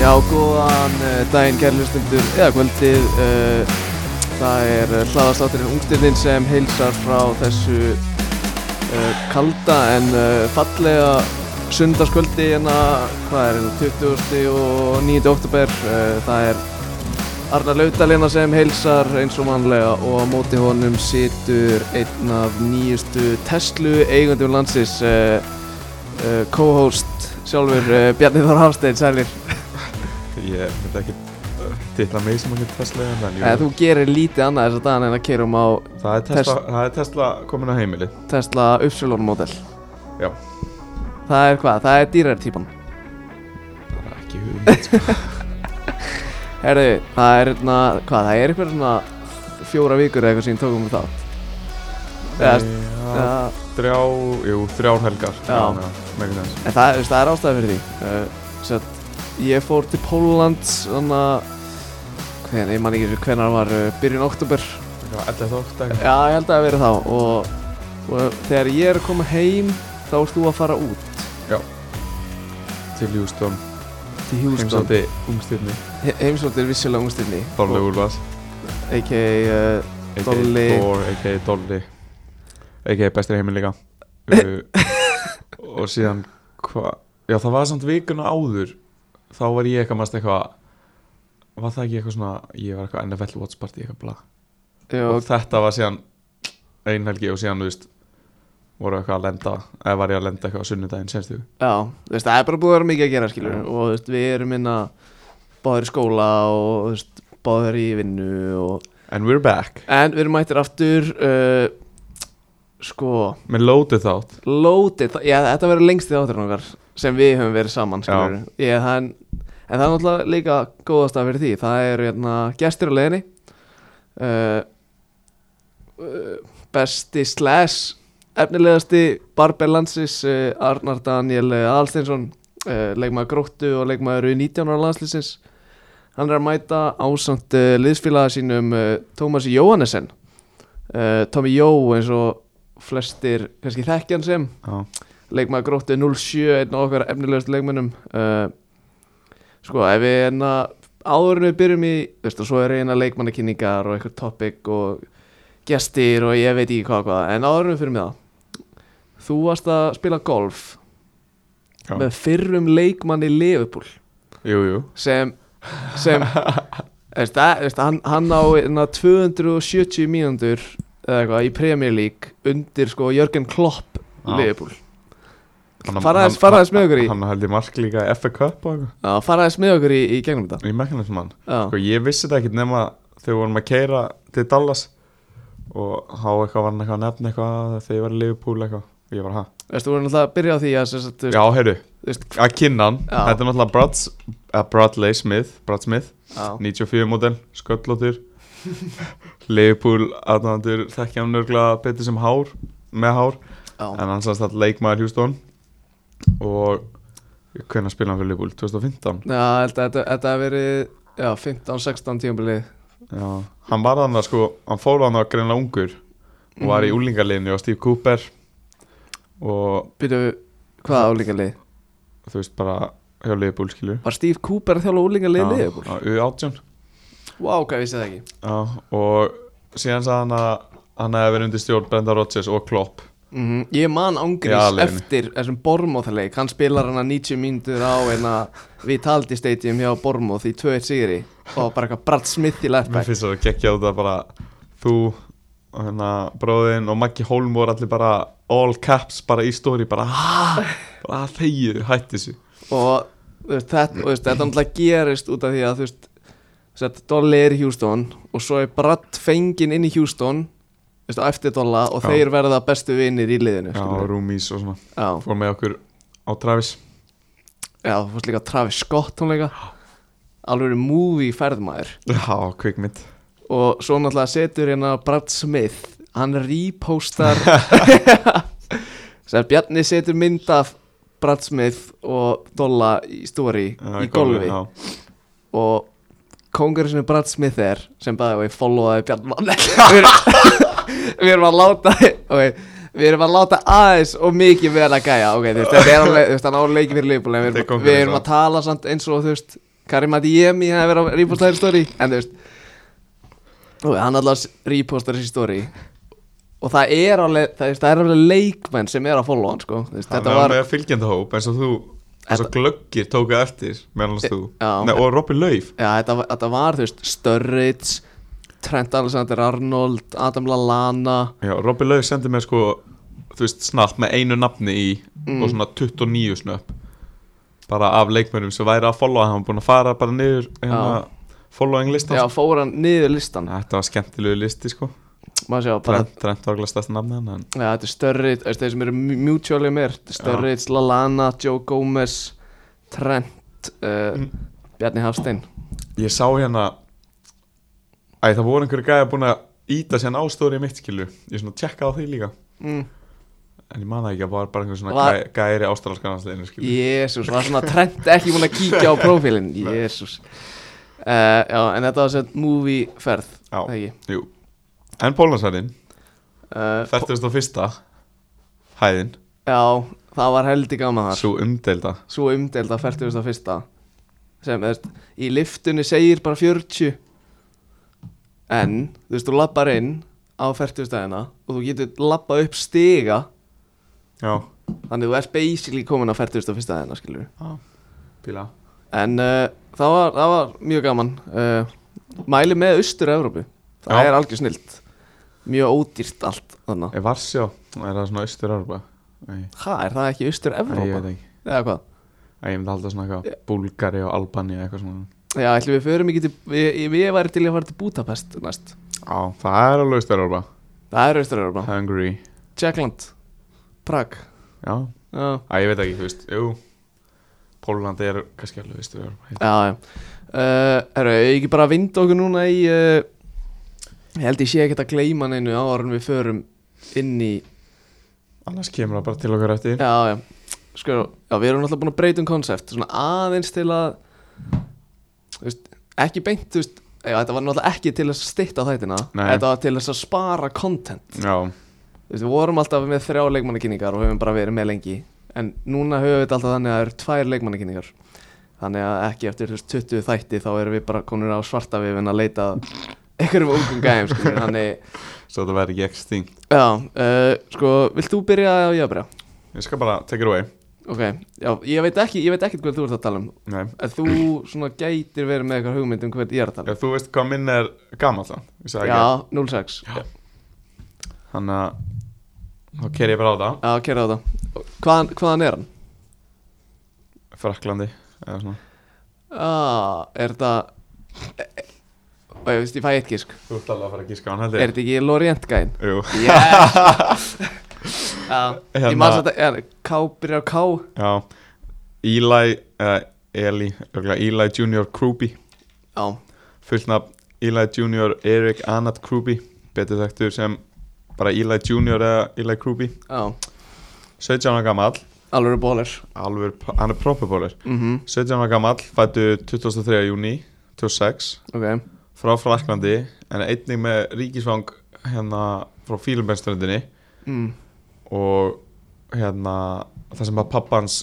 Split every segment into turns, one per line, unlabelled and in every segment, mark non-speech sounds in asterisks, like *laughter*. Já, góðan eh, daginn kærlustundur eða kvöldið eh, Það er eh, hlaðastátturinn Ungstirnin sem heilsar frá þessu eh, kalda en eh, fallega sundarskvöldi hérna, hvað er þetta, 20. og 9. oktober eh, Það er Arnar Laudal hérna sem heilsar eins og mannlega og á móti honum situr einn af nýjustu Tesla eigundum landsins eh, eh, co-host sjálfur eh, Bjarni Þór Hafstein, sælir
Ég myndi ekki uh, titla mig sem ekki Tesla en en jú,
Eða þú gerir lítið annað þess að dagana en að keirum á
það, er Tesla, það er Tesla komin á heimili
Tesla Upsilon model
Já.
Það er hvað? Það er dýrartípan
Það er ekki hugmynd sko.
Herðu, það er hérna, hvað, það er eitthvað svona fjóra vikur eða eitthvað sem um tókum við þátt
Já,
*laughs* Eða, það,
Þrjá, jú, þrjár helgar
Já.
Megan þess
En það, þú veist, það er ástæða fyrir því uh, Sett, ég fór til Póland svona Hvernig, ég man ekki hvernig var uh, byrjun oktober
Ellið þótt dag
Já, ég held að það hafi verið þá og, og þegar ég er að koma heim þá ert þú að fara út
Til Hjústón
til Hjústón
Heimsótti ungstirni
Heimsóttir vissulega ungstinni
Dolly Úlfas
a.k.a. Uh,
A.k.a.
Dolly.
Thor, A.k.a. Dolly A.k.a. Bestri
*laughs*
heimili líka uh, Og síðan hva, Já, það var samt vikuna áður Þá var ég eitthvað mest eitthvað Var það ekki eitthvað svona Ég var eitthvað NFL Watch Party eitthvað bla og
og,
þetta var síðan einhelgi og síðan, þú veist voru eitthvað að lenda, eða var ég að lenda eitthvað á sunnudaginn senstu,
já, þú veist, það er bara búið að vera mikið að gera skilur
Já.
og þú veist, við erum inna báður í skóla og þú veist, báður í vinnu og...
and we're back
en við erum mættir aftur uh, sko
með loaded þátt,
loaded, þa- já, þetta verður lengst í þátturinn okkar sem við höfum verið saman skilur ég, það en, en það er náttúrulega líka góðast að fyrir því, það eru hérna, gestir á leiðinni uh, uh, besti slash efnilegasti barber landsis uh, Arnar Daniel eh, Aðalsteinsson uh, leikmaður gróttu og leikmaður í 19 ára landslýsins hann er að mæta ásamt uh, liðsfélaga sínum uh, Tómasi Jóhannesen uh, Tómi Jó eins og flestir kannski þekkjan sem
já,
leikmaður gróttu 07 einn af okkar efnilegust leikmönnum uh, sko ef við enna áður en við byrjum í þú veist og svo er eina leikmannakynningar og eitthvað topic og gestir og ég veit ekki hvað og hvað en áður en við fyrir með það þú varst að spila golf
já.
með fyrrum leikmanni Liverpool
jú, jú
sem,
*laughs*
sem veist, að, veist, hann, hann á na, 270 mínúndur eða eitthvað í Premier League undir sko Jörgen Klopp
Já.
Liverpool
Hann-
Fara aðeins-
hann-
fara aðeins með okkur í.
hann held ég mark líka í FA Cup og eitthvað,
Já, faraðis með okkur í, í gegnum þetta
ég mekkna þessum mann
Já,
sko, ég vissi þetta ekkit nema þegar við vorum að keira til Dallas og há eitthvað var hann eitthvað að nefna eitthvað þegar ég var í Liverpool eitthvað og ég var ha,
veist, þú voru náttúrulega að byrja á því að sem sagt, þú
já,
veist,
heyrðu,
þú veist,
að kynna hann
Já.
þetta er náttúrulega Brads, uh, Bradley Smith Brad Smith
já,
94 mótel, sköllóttur Leifupúl aðnandur þekkja hann nörglega betur sem hár með hár,
já,
en hann sannst að leikmaður Hjústón og hvernig spila hann fyrir Leifupúl? 2015
já þetta, þetta, þetta hafi verið já, 15-16 tíumbilið
Já, hann var hann að sko hann fór hann að greinlega ungur og var
Mhm.
í úlingarleginu á Steve Cooper og
Byrju, hvað álíkalið?
þú veist bara hjá Leifupúl skilur
Var Steve Cooper að þjála úlingalið Liverpool?
Já, U18
Vá, hvað vissi það ekki?
Já, og síðan sagði hann að hann hefði verið undir stjórn Brenda Rodgers og Klopp
Mm Ég man
Já,
ángriðs
leiðinni.
eftir þessum Bormóð-leik Hann spilar hana 90 mínútur á en að við taldi stadium hjá Bormóð í 2-1 sigri og bara eitthvað Brad Smith í
Mér
leftback
finnst það að gekkja út að bara þú og hérna bróðin og Maggi Hólm voru allir bara all caps bara í stóri bara "Ha?" bara þegið, hætti þessu
og þú veist, þetta, og, þú veist, þetta náttúrulega gerist út af því að þú veist sett, Dolly er í Houston og svo er Brad fenginn inn í Houston þú veist, á eftir Dolla og
Já.
þeir verða bestu vinnir í liðinu
Já,
skilurðu.
Rúmís og svona
Já,
fór með okkur á Travis
já, þú fórst líka Travis Scott tónleika alveg movie ferðmaður
Já, kvikmynd
og svo náttúrulega setur hérna Brad Smith hann repostar sem Bjarni setur mynd af Brad Smith og Dolla í stóri
Já,
í golfi
já.
og kongurinn sem Brad Smith er sem bæði og ég followaði Bjarni *laughs* við, erum- við erum að láta okay, við erum að láta aðeins og mikið vera að gæja okay, þú veist, þetta er alveg, þú veist, hann áleiki fyrir leifbúl en við
Þetta er
erum,
kóngurinn
við erum
samt.
að tala samt eins og þú veist Karim Adiemi það er verið að reposta þér story en þú veist og hann alltaf repostar þessi story og það er alveg það, það er alveg leikmenn sem er að followa hann sko Þú veist,
Þetta
þetta
var
var
með fylgjandahóp eins og þú eins og glöggir tóka eftir meðan hans þú
Já.
Nei, og Robin Lauf
Já, þetta, var- þetta var, þú veist, Sturridge, Trent Alexander-Arnold, Adam Lallana
Já, Robin Lauf sendi mér sko þú veist snapp með einu nafni í
Mm.
og svona 29 snöpp bara af leikmönnum sem væri að followa hann var búin að fara bara niður hérna, following listan
Já, fór hann niður listan
Þetta var skemmtilegu listi sko
Má sjá, bara,
Trent, Trent var glæst eftir nafni hann en
já, þetta er Sturridge, þú veist, þeir sem eru mu- mutually mér Sturridge, Lallana, Joe Gomez, Trent, uh,
Mm.
Bjarni Hafstein
ég sá hérna Æ, það voru einhverju gæja búin að íta sérna ástóri mitt skilu Ég svona tjekkaði á því líka
mm.
En ég man það ekki að það var bara einhver svona
Var-
gæ, gæri ástralskansleginu skilur
Jésús, var svona Trent ekki múin að kíkja á prófílinn
*laughs*
Jésús uh, Já, en þetta var sem movie ferð,
Já.
það ekki
Jú En Pólnarsarinn,
uh,
41. hæðin,
Já, það var heldig gaman þar
svo umdelda
svo umdeld að 41. sem þú veist, í liftunni segir bara 40 en þú veist, þú lappar inn á 40 stæðina og þú getur lappa upp stiga
Já,
þannig þú ert basically komin á 41. stæðina skilur
píla
en uh, það, var, það var mjög gaman uh, mæli með austur Evrópu, það
Já.
er algjör snilt mjög ódýrt allt þannig
Er Varsjá, er það svona austur Europa? Nei,
hvað, er það ekki austur
Nei, ég
Evrópa?
veit ekki
eða hvað?
Æ, ég myndi alltaf svona eitthvað Búlgari og Albani eitthvað svona
Já, ætlum við förum ekki til, ég, ég, ég væri til í að fara til Budapest næst,
Já, það er alveg austur Europa
það er austur Evrópa
Hungary
Tjekkland Prag
Já,
Já,
Æ, ég veit ekki, þú veist, jú Pólland er kannski alveg austur Europa
já, já. Uh, Herru, ég ekki bara að vinda okkur núna í uh, Ég held ég sé ekkert að gleyma neinu ára en við förum inn í
Annars kemur það bara til okkar eftir
Já, já, sko, já, við erum alltaf búin að breyta um konsept Svona aðeins til að þú veist, Ekki beint, þú veist Já, þetta var náttúrulega ekki til þess að stytta þættina
Nei.
Þetta var til þess að spara content
Já,
Þú veist, Við vorum alltaf með þrjá leikmannakynningar og höfum bara verið með lengi En núna höfum við þetta alltaf þannig að það eru tvær leikmannakynningar Þannig að ekki eftir þú veist, 20 þætti þá erum við bara konur á svarta vifin að leita að einhverjum ungum gæm
*laughs*
Þannig,
svo þetta verður ekki extinct
já, uh, sko, vilt þú byrja eða á ég að byrja?
Ég skal bara take it away
Ok, já, ég veit ekki, ég veit ekkert hvað þú ert að tala um
Nei
En
*clears throat*
þú svona gætir verið með eitthvað hugmynd um hvert ég er að tala um
Ef þú veist hvað minn er gamall hann Ég sagði ekki
Já, 06 Já,
Þannig að Þá ker ég bara á það
já kæra á það Hvaðan, hvaðan er hann?
Fraklandi Eða svona
Ah, er það Ó, ég veist, ég fæ eitt gísk
Þú ert alveg að fara að gíska á hann
Er
heldur
þetta ekki Lorient gæn?
Jú
Yes Já, ég
Hérna-
man samt að ja, K byrjar á K
Já Eli Eða Eli örugglega Eli Junior Kruby
Já,
Fullt nafn Eli Junior Erik Anat Kruby Betur þekktur sem Bara Eli Junior eða Eli Kruby
já,
17 ára gamall
alveg bólar
Alveg Hann er propperbólir
mm
17 ára gamall Fættu 23. júni 26
Ok,
frá Fraklandi en einnig með ríkisfang hérna frá Fílumbennströndinni
mm.
og hérna það sem að pappans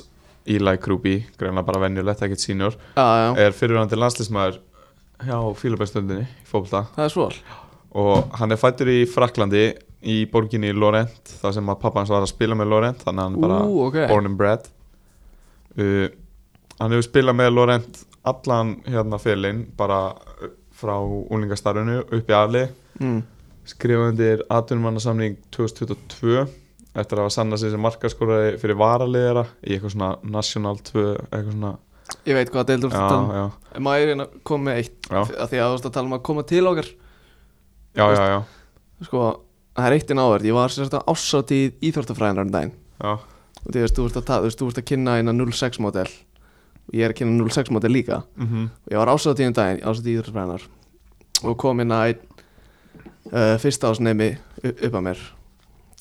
Eli Krubi, greinlega bara venjulegt, ekkert sínjur
já, já,
er fyrirvændi landslísmaður hjá Fílumbennströndinni í fólkta
það er svol
og hann er fættur í Fraklandi í borginni Lorent þar sem að pappans var að spila með Lorent þannig að hann er bara
Ú, ok,
born and bred uh, hann hefur spilað með Lorent allan hérna félinn bara uh, frá úlingastarfinu upp í afli
mm.
skrifaði undir atvinnumannasamning 2022 eftir að hafa sannað sig sem markaskóraði fyrir varaliðara í eitthvað svona National 2 eitthvað svona
Ég veit hvað deildur þú ert að tala um
já, já,
Má ég reyna að koma með eitt
Já.
Af Því að þú veist að tala um að koma til okkar
já, já, já,
Sko, það er eitt inn áverð Ég var sérst á ásatíð íþórtafræðinar um daginn
já,
Og því, þú veist, þú ert að, ta- þú veist, þú ert að kynna eina 06 model Og ég er að kynna 06 model líka
mhm,
og ég var ásatíðum daginn, ásatíð íþróttafræðinar og kom inn að einn uh, fyrsta ásneimi upp að mér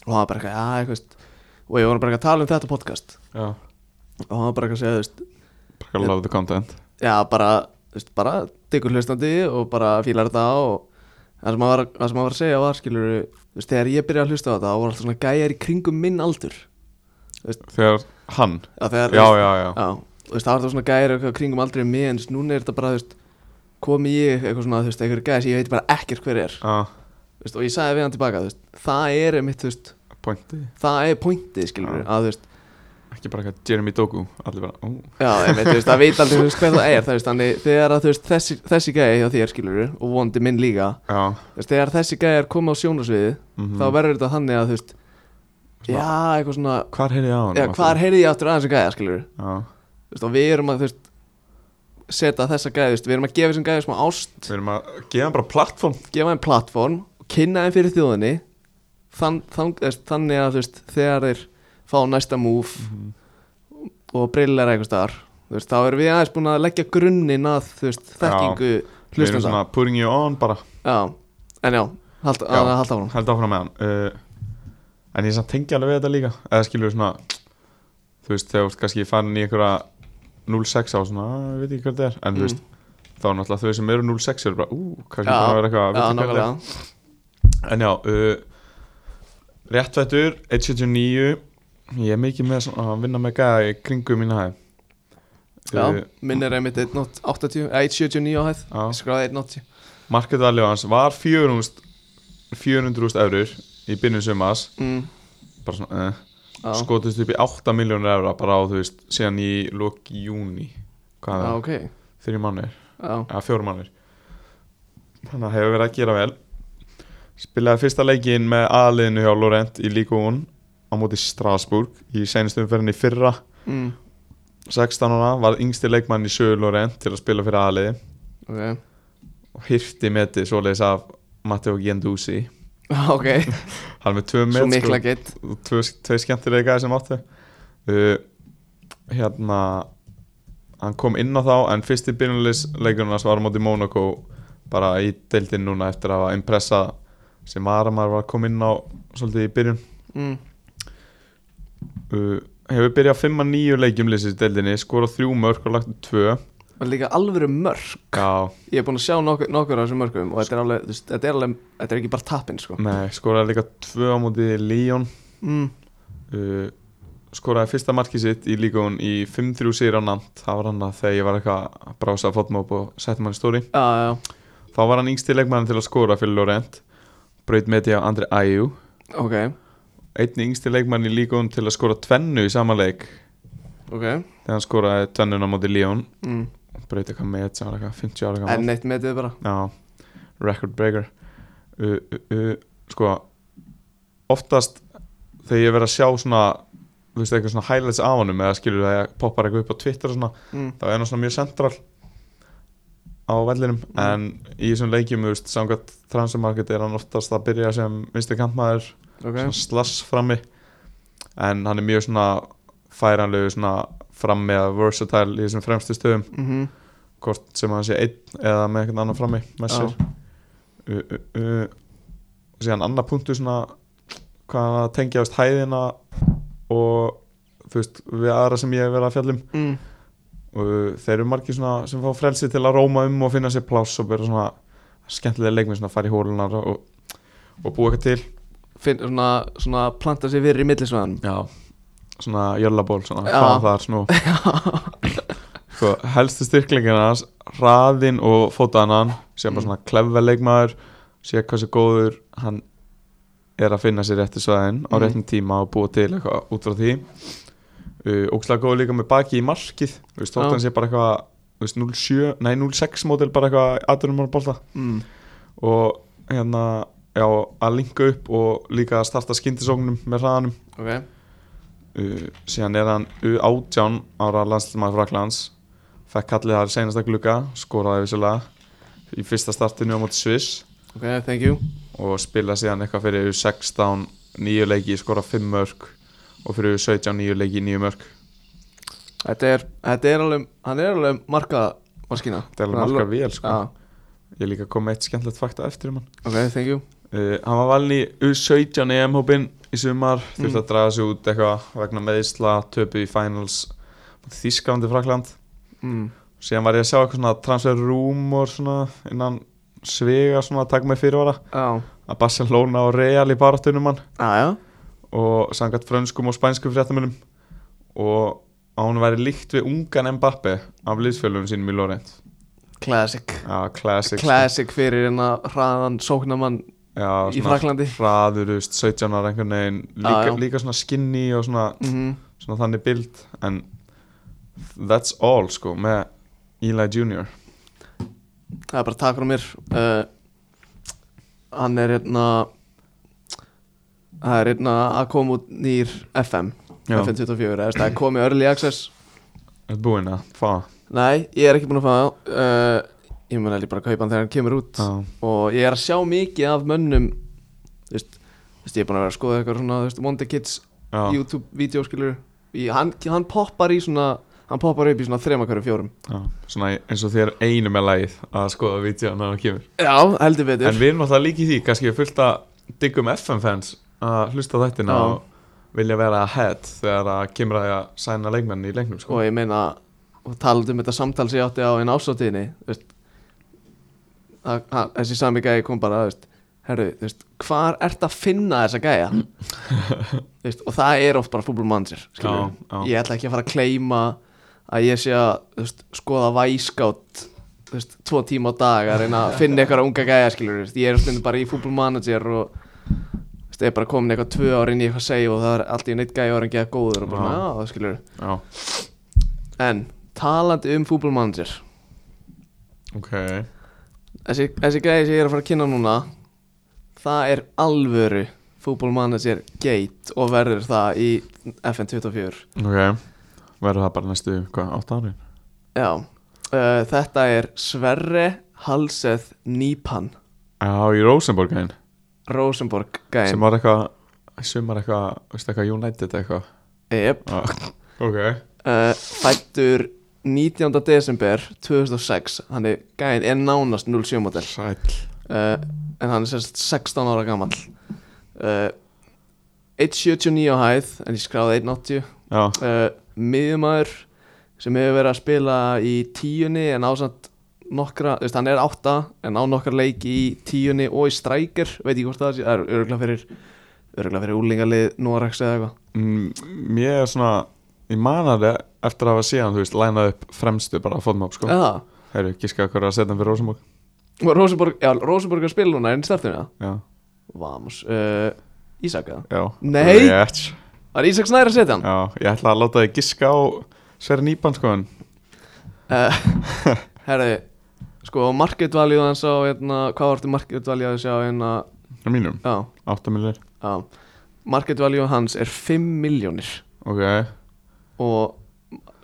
og hann var bara eitthvað, já, eitthvað og ég var bara eitthvað að tala um þetta podcast
já
og hann var bara eitthvað að segja, þú veist,
bara love the content
já, bara þú veist, bara diggur hlustandi og bara fílar þetta og það sem hann var, það sem hann var að segja var, skilur þú veist, þegar ég byrjaði að hlusta á þetta, þá var alltaf svona gæjar í kringum minn aldur
þegar hann,
já, þegar,
já, já, já
já, þú veist, það var það svona gæri eitthvað kringum aldrei mig en núna er þetta bara, þú veist komi ég eitthvað svona, þú veist, eitthvað gæri sem ég veit bara ekkert hver er,
ah,
þú veist, og ég sagði við hann tilbaka, þú veist, það er mitt, þú veist
pointi
það er pointið, skilur
Já.
að þú veist,
ekki bara eitthvað Jeremy Doku allir bara, ó,
já, einmitt, þú veist, það veit aldrei þú veist, hver það er, þú veist, þannig þegar að þú veist þessi, þessi gæri hjá þér, skilur og vondi minn líka,
já
þú veist, þegar þessi gæri koma á sjónasviði,
mm
þá verður þetta þannig að, þú veist,
Svona-
já, eitthvað svona
hvar heyrði ég á hann
já, hvar heyrði ég aftur aðeins að gæja, skilur
já,
Þú veist, og við erum að þú veist, setja þessa gæði, þú veist, við erum að gefa þessum gæði smá ást,
við erum að gefa hann bara plattform
gefa þeim plattform og kynna þeim fyrir þjóðinni þann, þann, þú veist, þannig að þú veist, þegar þeir fá næsta move
Mhm.
og brillar eitthvað staðar þú veist, þá erum við aðeins búin að leggja grunnin að þú veist, þekkingu
við erum
hlustanda
svona putting you on bara
já, en já, hald,
Já.
að halda áfram
held áfram með hann uh, en ég samt tengi alveg við þetta líka eða skilur svona þú veist þegar þú ert kannski farin í einhverja 06 á svona, "Ah, ég veit ekki hvað þetta er en þú veist, þá er náttúrulega þau sem eru 06 eru bara, ú, kannski
Mm. Já,
það verður eitthvað
já,
"Veit ekki hvað þetta
nákvæmlega
er." en já uh, réttvættur 1.79 ég er mikið með svona, að vinna með gæða í kringum mína hæð
já, minn er einmitt 1.80 eh, 1.79 á hæð,
Já.
ég skráði 1.80
markaðalegu hans var 400.000 400.000 eurur í byrjun sumas
mm,
bara svona, eh
já,
skotist upp í 8 miljónur evra bara á þú veist, síðan í loki júni, hvað
já,
er það,
ok
þrjum mannir
já,
eða fjórum mannir þannig að hefur verið að gera vel spilaði fyrsta leikin með aðliðinu hjá Lorent í líkun á móti Strasbourg í seinustu umferðinni í fyrra
mm,
16 ára var yngsti leikmann í sögur Lorent til að spila fyrir aðliði
ok *laughs*
og hirti metið svoleiðis af Matteo Gendúsi
Já, Ok,
hann er með tvö met sko.
svo mikla gett
og tvö, tvö skemmtilega gæði sem áttu uh, hérna hann kom inn á þá en fyrst í byrjunleikurnum hans var á móti Monaco bara í deildin núna eftir að hafa impressa sem var að maður var að koma inn á svolítið í byrjun
mm.
uh, hefur byrjað 5-9 leikjum liðsins í deildinni, skorað þrjú mörg og lagt upp tvö
Og líka alvöru mörg
Já,
Ég er búin að sjá nokkur, nokkur af þessum mörgum Og þetta er alveg, þú veist, þetta er alveg Þetta er ekki bara tappin, sko
nei, skoraði líka tvö á móti Lyon
mm.
uh, skoraði fyrsta markið sitt í líkun í 5-3 sér á Nant það var hann að þegar ég var eitthvað að brása fótmóp og setja mann í stóri
Já, já,
Þá var hann yngsti leikmann til að skora fyrir Lorent Braut með því á Andri Æjú
ok
Einn yngsti leikmann í líkun til að skora tvennu í sama leik
Ok
Þegar hann skoraði tvennuna móti Líón
mm.
Braut eitthvað með þetta sem var eitthvað 50 ára gammal
En neitt metið bara
Já, record breaker uh, uh, uh, Sko Oftast Þegar ég verið að sjá svona Þú veist eitthvað svona highlights af honum Eða skilur það að poppar eitthvað upp á Twitter og svona
mm.
þá er hann svona mjög central á vellinum
Mm.
en í þessum leikjum, þú veist, samkvæmt transfermarket er hann oftast að byrja sem vinstri kantmaður,
Ok,
svona slass frammi en hann er mjög svona færanlegu svona frammi eða versatile í þessum fremstu stöðum
mm -hmm.
hvort sem hann sé einn eða með eitthvað annan frammi með sér uh, uh, uh. og síðan annar punktu svona hvað hann að tengja, þú veist, hæðina og þú veist, við aðra sem ég hef verið að um. fjallum
mm.
og uh, þeir eru margir svona sem fá frelsi til að róma um og finna sér pláss og vera svona skemmtilega leikmið svona að fara í hólunar og, og búa eitthvað til
Finn, svona, svona planta sér fyrir í millisvæðan
já. svona jöllaból svona
Já.
hvað það er
*laughs*
snú sko, helstu styrklingin hans hraðin og fótaðan sem bara
Mm.
svona klefve leikmaður sé hversu góður hann er að finna sér réttu svæðin á
Mm.
réttum tíma og búa til eitthvað út frá því uh, ókslega góður líka með baki í markið þú
Já.
veist, þótt hann sé bara eitthvað þú veist, 07, nei 06 mótil bara eitthvað aðdurum bólta
mm.
og hérna já, að linka upp og líka að starta skyndisóknum með hraðanum
Ok,
uh, síðan er hann U18 ára landslæsmaður Fraklands fekk kallið þar í seinasta glugga skoraði vissulega í fyrsta startinu á móti Sviss
ok, thank you
og spilaði síðan eitthvað fyrir U16 nýju leiki, skoraði 5 mörg og fyrir U17 nýju leiki, nýju mörg
Þetta er, þetta er alveg, hann er alveg marka Markina
þetta er alveg markað vel sko.
Já,
ég er líka kom með eitt skemmtilegt fakta eftir um hann
ok, thank you
Uh, hann var valin í U17 EM-hópin í sumar, þurfti
Mm.
að draga sig út eitthvað vegna meðisla, töpu í finals Þísklandi, Frakland
mm.
síðan var ég að sjá eitthvað svona transfer rumor svona innan svega svona að taka mig fyrirvara
Já,
að Barcelona og Real í baráttunum hann
já, já
og sangat frönskum og spænskum fréttamunum og að hún væri líkt við ungan Mbappe af liðsfjölunum sínum í Lorent
Classic
Já, classic sko.
Classic fyrir hérna hraðan sóknamann
Já,
í
svona
Fraklandi
hraður, þú veist, 17 ára einhvern veginn líka,
já.
líka svona skinny og svona,
mm
svona þannig bild en that's all sko með Eli Junior
Það er bara takk frá mér uh, Hann er hérna Það er hérna að koma út nýr FM
Já,
FM 24, eða þú veist, það er komið early access
er búinn að fá
Nei, ég er ekki búin að fá það uh, Ég mun að líka bara kaupa hann þegar hann kemur út
Já,
Og ég er að sjá mikið af mönnum Þú veist, þú veist ég er búin að vera að skoða eitthvað svona, þú veist, Monday Kids
já,
YouTube-vídeó skilur í, hann, hann poppar í svona Hann poppar upp í svona þrema hverju fjórum
já, svona eins og þér einu með lagið að skoða vídeo hann kemur
Já, heldur betur
En við erum alltaf líka í því, kannski fullt að diggum FM-fans að hlusta á þættina
Já.
og vilja vera ahead þegar að kemur að því að sæna leikmenn í leiknum sko.
og ég meina og talandi um þetta samtal sem ég átti á einn ásatíðinni þessi sami gæi kom bara þú veist, herru, þú veist, hvar ert að finna þessa gæja
*laughs*
Þú veist, og það er oft bara fútbol manager skilurðu.
Já, já.
ég ætla ekki að fara að kleima að ég sé að þú veist, skoða væskátt þú veist, tvo tíma á dag að reyna
*laughs*
að finna eitthvað unga gæja skilur veist, ég er stundum bara í fútbol manager og þú veist, ég er bara komin eitthvað tvö ára inn í eitthvað save og það er allt í neitt gæja orðin geða góður og bara,
Já.
já, skilur
Já,
En talandi um fútbolmanager
ok,
Þessi, þessi gæði sem ég er að fara að kynna núna Það er alvöru fútbolmanager gate og verður það í FN24
ok, verður það bara næstu, hvað, 8 árin?
Já, uh, þetta er Sverre Halseth Nípan
Já, í Rosenborg einn,
Rosenborg gæðin
sem var eitthvað, sumar eitthvað, veistu eitthvað, United eitthvað.
yep.
Já, Ok,
uh, Fættur 19. desember 2006 Hann er gæðin er nánast 07 model
sæl.
uh, en hann er sérst 16 ára gammal uh, 1.79 á hæð en ég skráði 1.80
Já,
uh, miðjumæður sem hefur verið að spila í tíunni en ásamt nokkra, þú veist, hann er átta en á nokkra leiki í tíunni og í strækir veit ekki hvort það sé, það er öruglega fyrir öruglega fyrir úlingalið Norex eða eitthvað
mm, mér er svona, ég manar það eftir að hafa síðan, þú veist, lænað upp fremstu bara að fóðmápp, sko.
eða,
Heyrðu, gíska hvað er að setja hann fyrir Rosenborg?
og Rosenborg, já, Rosenborg er að spila núna er hann í startinu það,
Já.
vamos uh, Ísak eða,
Já
Nei.
Rétt.
var Ísak snæri að setja hann?
Já, ég ætla að láta þið giska á Sverri Nýpan sko en
uh, *laughs* Herri Sko marketvaljú hans á hérna, Hvað vartu marketvaljú hans á hérna,
á mínum,
Já,
8 millir
já Marketvaljú hans er 5 miljónir
Ok,
Og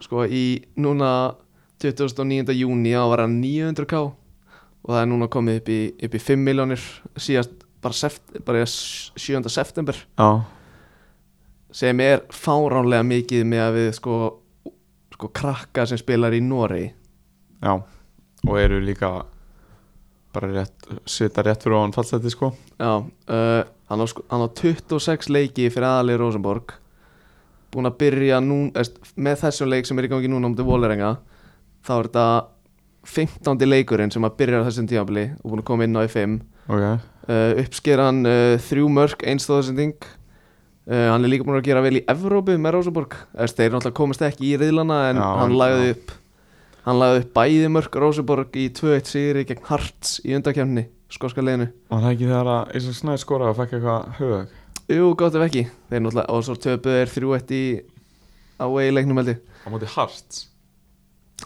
sko í núna 29. júni þá var hann 900k Og það er núna komið upp í, upp í 5 miljónir Síðast bara, seft, bara í 7. september
já,
Sem er fáránlega mikið með að við sko Sko krakka sem spilar í Noregi
já Og eru líka bara rétt, sita rétt fyrir á hann fallseti sko
Já, uh, hann, á, sko- hann á 26 leiki fyrir aðalið Rosenborg búin að byrja nú, eðst, með þessum leik sem er í gangi núna um til Vólerenga þá er þetta 15. leikurinn sem að byrja á þessum tímabili og búin að koma inn á í 5
Ok,
uh, uppskeran uh, þrjú mörk einstóðsending uh, hann er líka búin að gera vel í Evrópu með Rosenborg Eðst, þeir náttúrulega komast ekki í riðlana en
Já,
hann lagði
já.
upp hann lagði upp bæði mörk Rosenborg í 2-1 sigri gegn Harts í undakefni skoska leginu
var það ekki þegar að Ísak Snæði skoraði og fekk eitthvað hög
Jú, gott ef ekki Þeir náttúrulega, og svo töpuðu þeir þrjú eitt í Away leiknum held ég
Á móti hart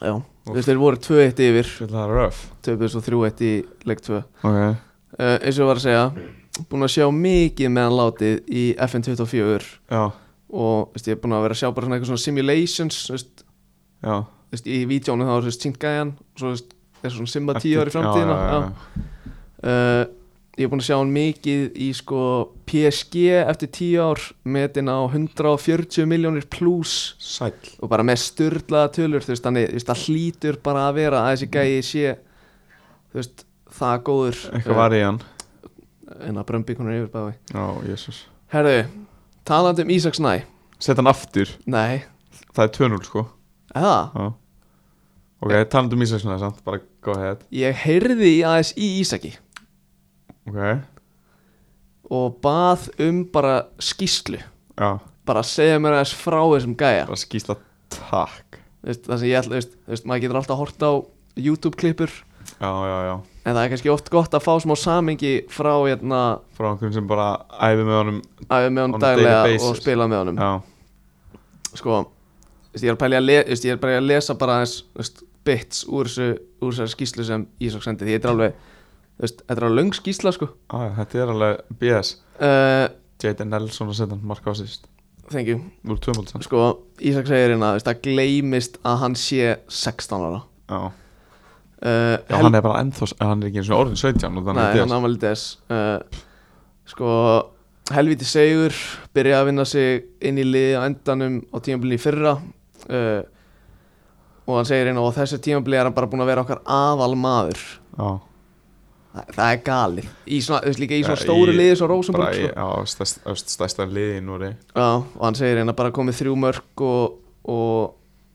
Já Þú veist, þeir voru tvö eitt yfir
Fyrir það er röf
Töpuðu svo þrjú eitt í leik tvö uh,
Ok,
Eins og ég var að segja Búin að sjá mikið meðan látið í FN24
já,
Og, veist, ég er búin að vera að sjá bara svona eitthvað svona simulations Þú veist,
já
þú veist, í vítjónu þá er svona syngæjan Og svo, þú veist, er svona simba tíu
Eftir-
ári framtíðina
já, já, já,
Uh, Ég er búin að sjá hann mikið í sko PSG eftir tíu ár Metin á 140 miljónir pluss
Sæll
og bara með styrlaða tölur þú veist, þannig, þú veist, það hlýtur bara að vera að þessi gæi sé þú veist, það góður eh,
Eitthvað var í hann
en að brömbi konar yfir bæði
Já, jésus
herru, talandi um Ísaks næ
Sett hann aftur,
nei,
það er 2-0 sko
eða,
Já Ok, um talandum Ísak Snæði samt, bara go ahead
ég heyrði í aðeins í Ísaki
Ok,
og bað um bara skýslu
já
bara segja mér aðeins frá þessum gæja
bara skýsla Takk
veist, það sem ég ætla, veist, veist, maður getur alltaf hort á YouTube klippur
Já, já, já
en það er kannski oft gott að fá smá samingi frá hérna
Frá einhverjum sem bara æði með honum
æfa með
On a
honum
daily
daglega
basis.
og spila með honum
Já,
sko, veist, ég er að pæli að, le, veist, ég er bara að lesa bara aðeins veist, bits úr þessu úr þessari skýslu sem Ísok sendi því þetta er alveg, veist, þetta er alveg löng skýsla sko
á, já, þetta er alveg BS
uh,
Jaden Nelson að setja hann marka á síst
thank you
Úr tvömbólsan
sko, Ísak segir hérna veist, að gleymist að hann sé 16 ára
Já,
uh,
já hann er bara ennþá eh, Hann er ekki eins og orðin 17 og þannig
Nei,
að
hann
DS
ámæli DS uh, Sko, helviti segur Byrja að vinna sig inn í liði á endanum á tímabili í fyrra uh, Og hann segir einu Og á þessu tímabili er hann bara búin að vera okkar aðal maður
Já,
Þa, Það er galið Í svona, þú veist líka í svona
Já,
stóru
í-
liði Svo
bara
Rosenborg
í,
sko.
já, stærst, öst, stærsta liði í Núri
Já, og hann segir hérna bara komið þrjú mörg og, og,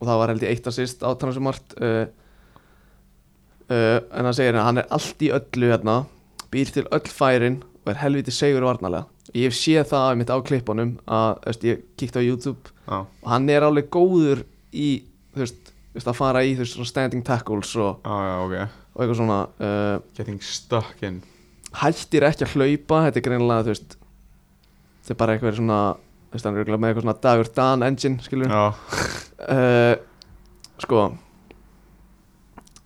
og það var held ég eitt að sýst átan sem margt uh, uh, en hann segir hérna hann er allt í öllu hérna býr til öll færin og er helviti segur varnalega ég hef séð það af mitt á klippunum að þú veist, ég kíkti á YouTube
Já,
og hann er alveg góður í þú veist, þú veist að fara í þú veist svona standing tackles og,
já, já, ok
og eitthvað svona uh,
Getting stuck in
hættir ekki að hlaupa þetta er greinilega þú veist þetta er bara eitthvað svona þú veist hann er örugglega með eitthvað svona dagur dan engine skilur
Já,
uh, sko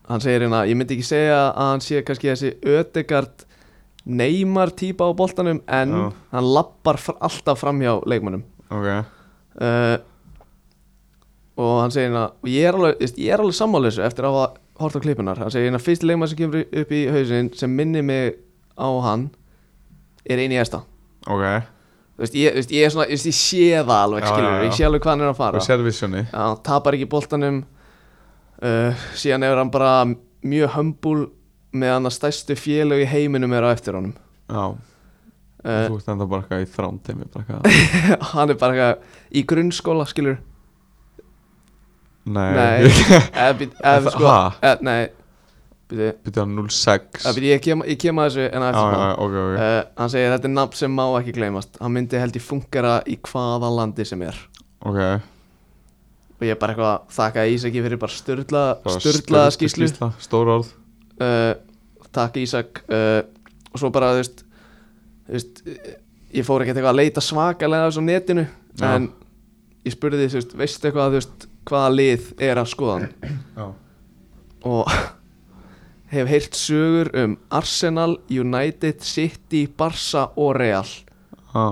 hann segir hérna ég myndi ekki segja að hann sé kannski þessi ödegard neymar típa á boltanum en
Já.
hann lappar fr alltaf framhjá leikmönnum
ok
uh, og hann segir hérna og ég er alveg, veist, ég er alveg sammála þessu eftir að hafa hort á klippunar hann segir hérna fyrst leikmann sem kemur upp í hausinn sem minni mig á hann er eini esta
Ok,
Þú veist, ég, þú veist, ég, er svona, þú veist, ég sé það alveg
Já,
skilur,
já, já.
ég sé alveg hvað hann er að fara
og servisjóni
Já, hann tapar ekki boltanum uh, síðan er hann bara mjög hömbul meðan að stærstu félög í heiminum er á eftir honum
Já,
uh,
þú ert enda bara eitthvað í þrándemi bara
*laughs*
eitthvað
hann er bara eitthvað í grunnskóla skilur
Nei, *laughs*
Nei, eða být- eða
Það-
sko
ha?
eða- Nei, býtu
byrja 06
eða býtu, ég kem- ég kem að þessu en
Já, já,
aðeins
ok, ok
Uh, hann segir þetta er nafn sem má ekki gleymast hann myndi held ég fungera í hvaða landi sem er
Ok,
og ég er bara eitthvað að þakka Ísaki fyrir bara styrla,
bara
styrla
sturlu
skýslu
skýrsla, Stór orð
uh, takk Ísak uh, og svo bara þú veist, þú veist eh, ég fór ekkert eitthvað að leita svakalega á þessu á netinu
Já.
en ég spurði því, þú veist, veistu eitthvað þú veist, hvaða lið er að skoða hann
Já
og *laughs* hef heyrt sögur um Arsenal, United, City, Barca og Real
Já,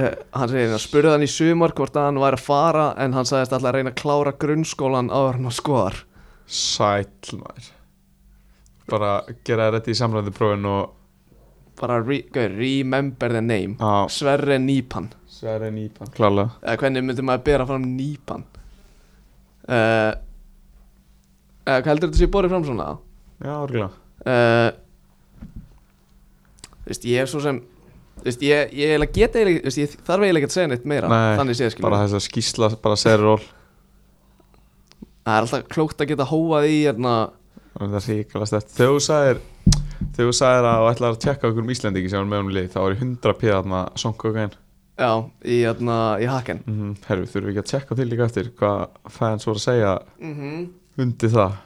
Uh, hann segir að spurði hann í sumar hvort að hann væri að fara en hann sagðist alltaf að reyna að klára grunnskólan áður en hann skoðar
sæll maður Bara gera þér þetta í samræðu prófin og
bara re gaur, remember the name
Já,
Sverre Nýpan
Sverre Nýpan Klálega
eða hvernig myndi maður bera fram nýpan uh, eða eh, hvað heldur þetta sé borið fram svona
Já, orðlega
uh, þú veist, ég er svo sem þú veist, ég, ég eiginlega get eiginlega þú veist, ég þarf eiginlega ekki að segja neitt meira
Nei,
þannig séð skilur
Bara þess að skýrsla, bara serról
það er alltaf klókt að geta hóað í hérna,
Það er ríkala stert Þegar þú sagðir Þegar þú sagðir að þú ætlar að tjekka okkur um Íslendingi sem er með um lið þá er ég 100 píða þarna songu okkur einn
já, í, hérna, í hakken
mm Herru, þurfum við ekki að tjekka til líka eftir hvað fans voru að segja
mm
undir það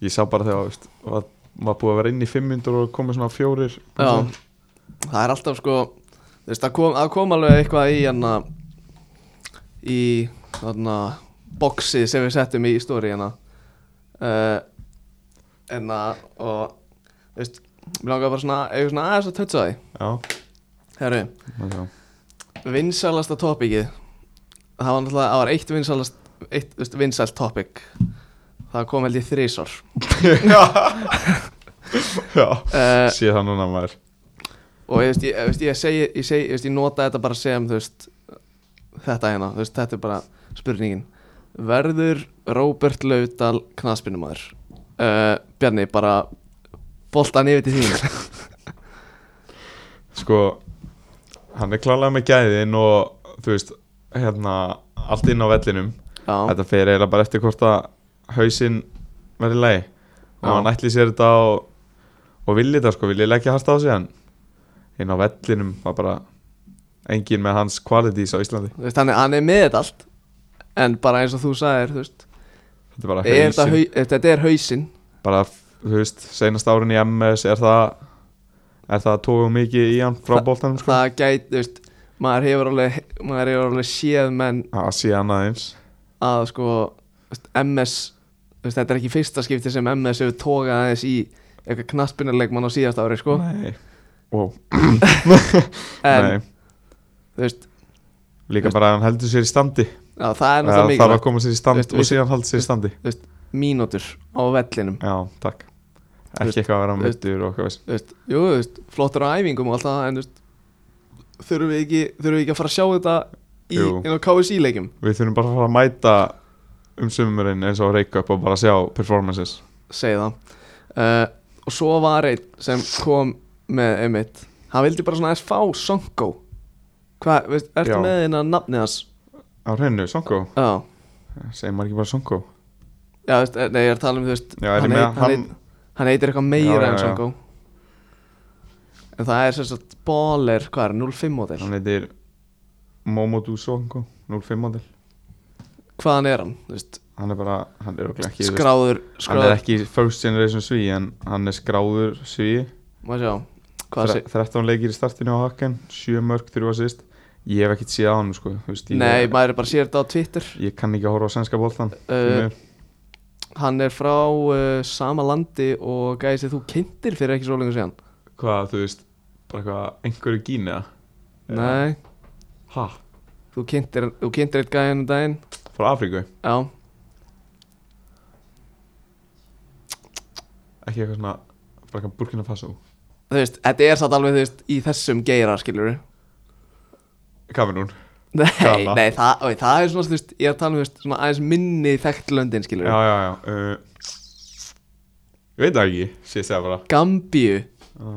Ég sá bara þegar, veist, var, var búið að vera inn í 500 og komið svona fjórir
já, það er alltaf sko þú veist, það kom, það kom alveg eitthvað í hérna, í þarna boxið sem við settum í stóri hérna uh, hérna og þú veist, mér langar bara svona eitthvað svona aðeins að tötsa því
Já,
Herru,
já,
vinsalasta topikið það var náttúrulega, það var eitt vinsalast eitt þú veist, vinsalt topic það kom held ég þrísor
*laughs* já.
uh,
Sé það núna maður
og ég veist, ég, ég, veist, ég segi, ég segi ég, veist, ég nota þetta bara sem þú veist, þetta hérna, þú veist, þetta er bara spurningin verður Róbert Laudal knaspinumæður uh, Bjarni, bara boltan yfir til
*laughs*
þín
Sko, hann er klálega með gæðin og þú veist, hérna allt inn á vellinum
já,
Þetta fer eiginlega bara eftir hvort að hausinn verði lei og
Já.
hann ætli sér þetta og, og villi þetta sko, villi leggja harta á sig hann inn á vellinum var bara engin með hans qualities á Íslandi
þú veist, hann er, hann er með þetta allt en bara eins og þú sagðir þú veist,
Þetta er bara
ef þetta,
hausinn.
hau, ef þetta er hausinn
Bara, þú veist, seinast árin í MS Er það Er það tóðu mikið í hann frá
Þa-
boltanum sko?
það gæti, þú veist maður hefur alveg, maður hefur alveg séð menn
Að sé annað eins
að sko þú veist, MS, þú veist, þetta er ekki fyrsta skipti sem MS hefur tókað aðeins í eitthvað knaspinnuleikmann á síðast ári sko
Nei wow.
en
Nei,
þú veist,
líka bara að hann heldur sér í standi
já, það er
Það þarf
náttúrulega
að
mikilvægt
koma sér í stand
Veist,
og
við-
síðan halda sér í standi
mínútur á vellinum
Já, takk
veist,
Ekki eitthvað að vera
þú veist-
myndur og eitthvað veist.
þú veist, jú, þú veist, flottur á æfingum og allt það, en þú veist þurfum við ekki, þurfum við ekki að fara að sjá þetta í,
Jú.
inn á KSI leikum
Við þurfum bara að fara að mæta um sumurinn eins og reyka upp og bara sjá performances
segi það uh, og svo var einn sem kom með einmitt, hann vildi bara svona aðeins fá Sonko hvað, veist, ertu
Já.
með hérna nafnið hans?
Á hreinu, Sonko,
Já,
segir maður ekki bara Sonko
já, þú veist, eh, nei, ég er að tala um þú veist,
Já, er ég
hann,
með
heit, hann,
hann
heit, hann heitir eitthvað meira
Já, já,
en
já.
Sonko en það er sem sagt baller, hvað er, 05 model
Hann heitir Momodou Sonko, 05 model
hvaðan er hann, þú veist,
Hann er bara, hann er okkur ekki þú veist,
skráður
Hann er
skráður,
ekki first generation sví en hann er skráður sví
maður sjá hvað sé,
13 leikir í startinu á hakken 7 mörg, 3 assist Ég hef ekkert séð á hann sko þú veist, ég,
nei, maður er bara sér þetta á Twitter
ég kann ekki að horfa á sænska boltan
uh, hann er frá uh, sama landi og gæði sem þú kynntir fyrir ekki svo lengur síðan
Hvað, þú veist, bara hvað einhverju gínu
Nei,
Ha,
þú kynntir, þú kynntir eitt gæðin um daginn
frá Afríku
Já,
Ekki eitthvað svona, bara hvað Burkina Faso
þú veist, þetta er satt alveg, þú veist, í þessum geira, skilur
Kamerún
Nei,
Gana.
nei, það, oi, það er svona, þú veist, ég er að tala um, þú veist, svona aðeins minni þekkt löndin, skilur
Já, já, já uh, Ég veit það ekki, sé segja bara
Gambíu,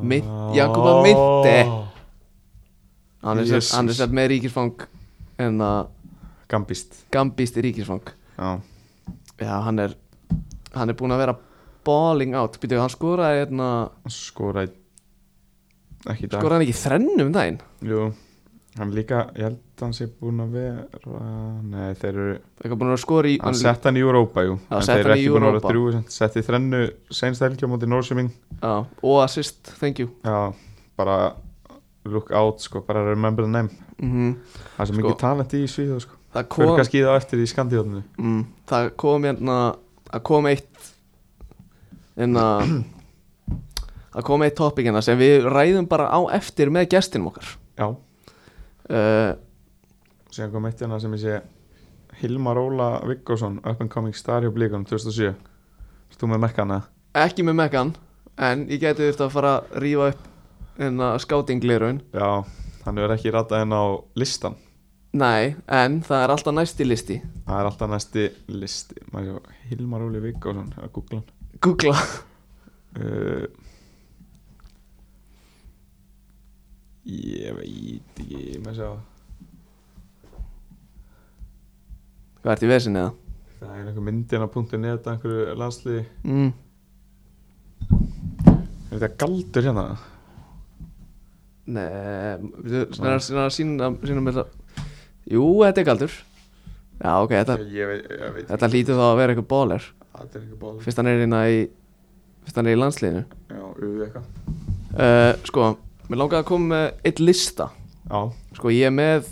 Mynt-
Ah.
Jakoba
Oh.
Mynte. hann er
Jesus.
sér, hann er sér með ríkisfang en að
Gambist
Gambíst er ríkisfang
Já,
Já, hann er, hann er búin að vera balling out, býtu, hann skoraði, hérna,
skora í- Ekki í dag
skoraði hann ekki í þrennu um daginn
Jú, hann líka, ég held að hann sé búinn að vera Nei, þeir eru
eitthvað búin að skora í
Hann sett hann í Europa, jú
Já,
En
setti
þeir eru
hann í
ekki búin að vera
Europa.
drjú Setti þrennu seinst helgja á móti Norsjöming
já, og assist, thank you
Já, bara look out, sko, bara remember the name
mm
Það er svo
Sko.
mikið talent í Svíðu, sko
það
Fyrir
kom
kannski í það á eftir í Skandíðunni
mm, það kom hérna það kom eitt hérna það kom eitt topic hérna sem við ræðum bara á eftir með gestinum okkar
Já,
uh,
síðan kom eitt hérna sem ég sé Hilmar Óla Viggosson, up and coming star hjá Blíkanum 2007 Stú með mekkana
ekki með Megan en ég geti þurft að fara að rífa upp hérna skátinglirun
Já, hann er ekki ratað henn á listan
nei, en það er alltaf næsti listi
Það er alltaf næsti listi Maður sjá, Hilmar Óli Viggosson að googla hann
googla
uh, Ég veit ekki Maður sjá
*laughs* hvað ert í vesinni eða?
Það er einhver myndina punktin eða einhverju landsli Er
Mm.
þetta galdur hérna?
Nei, við snarra, snarra sína, sína með það Jú, þetta er galdur Já, ok, þetta,
ég veit, ég veit
þetta lítur þá að vera eitthvað bóler
Það er einhver ból
Fyrst hann er hérna í Fyrst hann er í landsliðinu
Já, uðu eitthvað
uh, Sko, mér langaði að koma með eitt lista
Já,
Sko, ég er með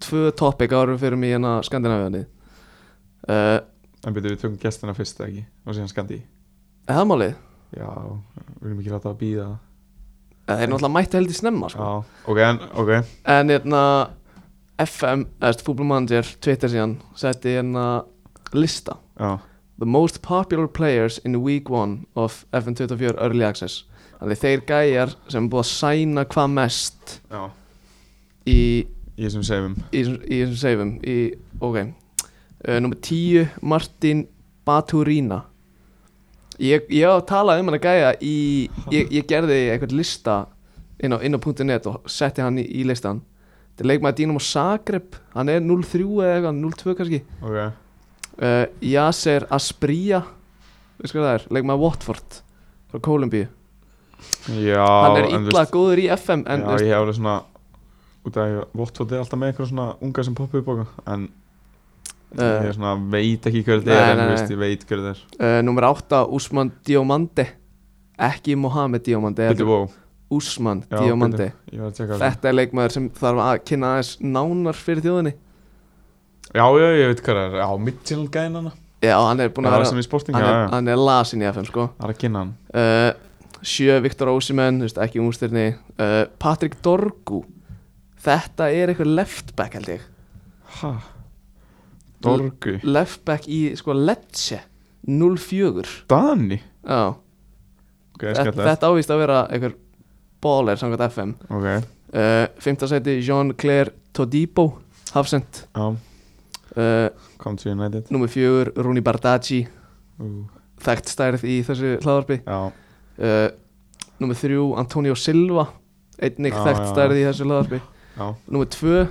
Tvö topic árum fyrir mig hérna Skandinavíðanni uh,
en byrju við tökum gestina fyrst eða ekki og síðan skandi
Er það málið?
Já, við erum ekki látað að býða
Eh, Þeir náttúrulega mættu heldur snemma sko.
Já, ok, en, ok
En hérna eh, FM, eða fútbolmanager, Twitter síðan Setti hérna lista
Já,
The most popular players in week one of FN24 Early Access Þannig þeir gæjar sem er búið að sæna hvað mest
já
í,
Ég sem segjum
í, í þessum seifum í, Ok uh, Númer 10, Martin Baturina Ég, ég á að tala um hann að gæja í, ég, ég gerði einhvern lista inn á, inn á .net og setti hann í, í listan Þetta er leikmaður Dínamo Zagreb Hann er 0-3 eða eitthvað, 0-2 kannski
Ok,
uh, Yasser Asprija veist hvað það er, leikmaður Watford frá Kólumbíu,
já
hann er
en þú
illa góður í FM en
Já,
þú veist,
ég hef alveg svona út af að ég Watford er alltaf með eitthvað svona unga sem poppa upp okkar en
Uh,
Ég er svona, veit ekki hver
Nei,
þetta er
nei,
en þú
nei.
veist, ég veit hver þetta er
uh, Númer 8 Usman Diomande Ekki Mohamed Diomande
Bittu
heldur
bó,
Usman
Já,
Diomande
ég var að tjekka það
Þetta er leikmaður sem þarf að kynna aðeins nánar fyrir þjóðinni
Já, já, ég veit hvað það er, á Mitchell gæðin hana
Já, hann er búin
Það
að
var
vera
sem í sporting,
Hann
já,
er,
já
hann er lasin í FM sko
Það er að kynna hann
uh, Sjö Viktor Ósimenn, ekki úrstyrni uh, Patrik Dorgu Þetta er eitthvað leftback held ég
Hæ? Dorgu
Leftback í sko Lecce 04
Dani?
Já,
Ok,
þetta,
skallið
þetta ávist að vera eitthvað baller samkvæmt FM
Ok,
uh, Fymta seti Jean-Claire Todibo Hafsend
já,
uh,
kom to United
Númer fjögur Rúni Bardacci
Ú,
Þekkt stærð í þessu hlaðarpi
Já,
uh, Númer þrjú Antonio Silva Einnig
Já,
þekkt
já,
stærð í þessu hlaðarpi
já,
Númer tvö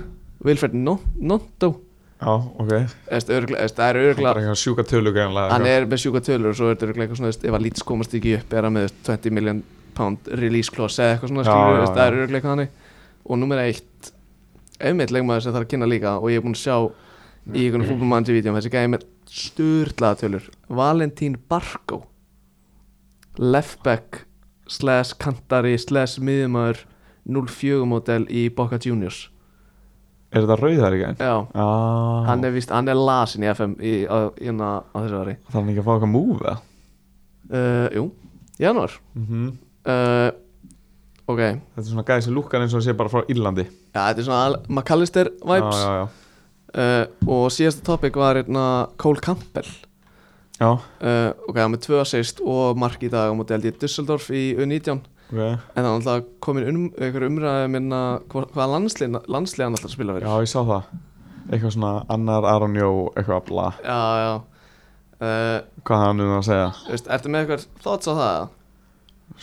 Vilfred No- Notto
já, ok
Eðst, örgla, eðst, Það er
Það er
örgulega
eitthvað sjúka tölu sko. gæðanlega
Hann er með sjúka tölur og svo er þetta örgulega eitthvað svona veist, Ef að lítið komast ekki upp er hann með veist, 20 million pound release clause eða eitthvað svona
Já,
skilur,
já,
veist, Það er
já.
örgulega hann Og númer eitt Einmitt leikmaður sem þarf að kynna líka Og ég er búinn að sjá í einhvern fútbolmanns í vídjum Þessi gæði með sturlaða tölur Valentín Barkó Leftback Slash kantari Slash miðumæður 04 model í Boca Juniors
Er þetta rauðar í gæðin?
Já
Já
hann er, víst, hann er lasin í FM í, á, hérna, á þessu ári
Það er hann ekki að fá eitthvað múfa
uh, Jú, janúar uh, Ok, já,
Mhm. Þetta er svona gæði sem lúkkar eins og sé bara frá Írlandi
þetta er svona al- McAllister vibes
Já, já, já
uh, Og síðasta topic var hérna, Cole Campbell
Já,
uh, Ok, hann er með tvö assist og mark í dag á móti held ég Dusseldorf í U19
ok
En það er alltaf komin um, einhver umræði minna hva, hvaða landslið, landslið hann alltaf spila fyrir
Já, ég sá það Eitthvað svona annar Aron Jó eitthvað bla
já, já. Uh,
Hvað hann er að segja
veist, Ertu með eitthvað thoughts á það?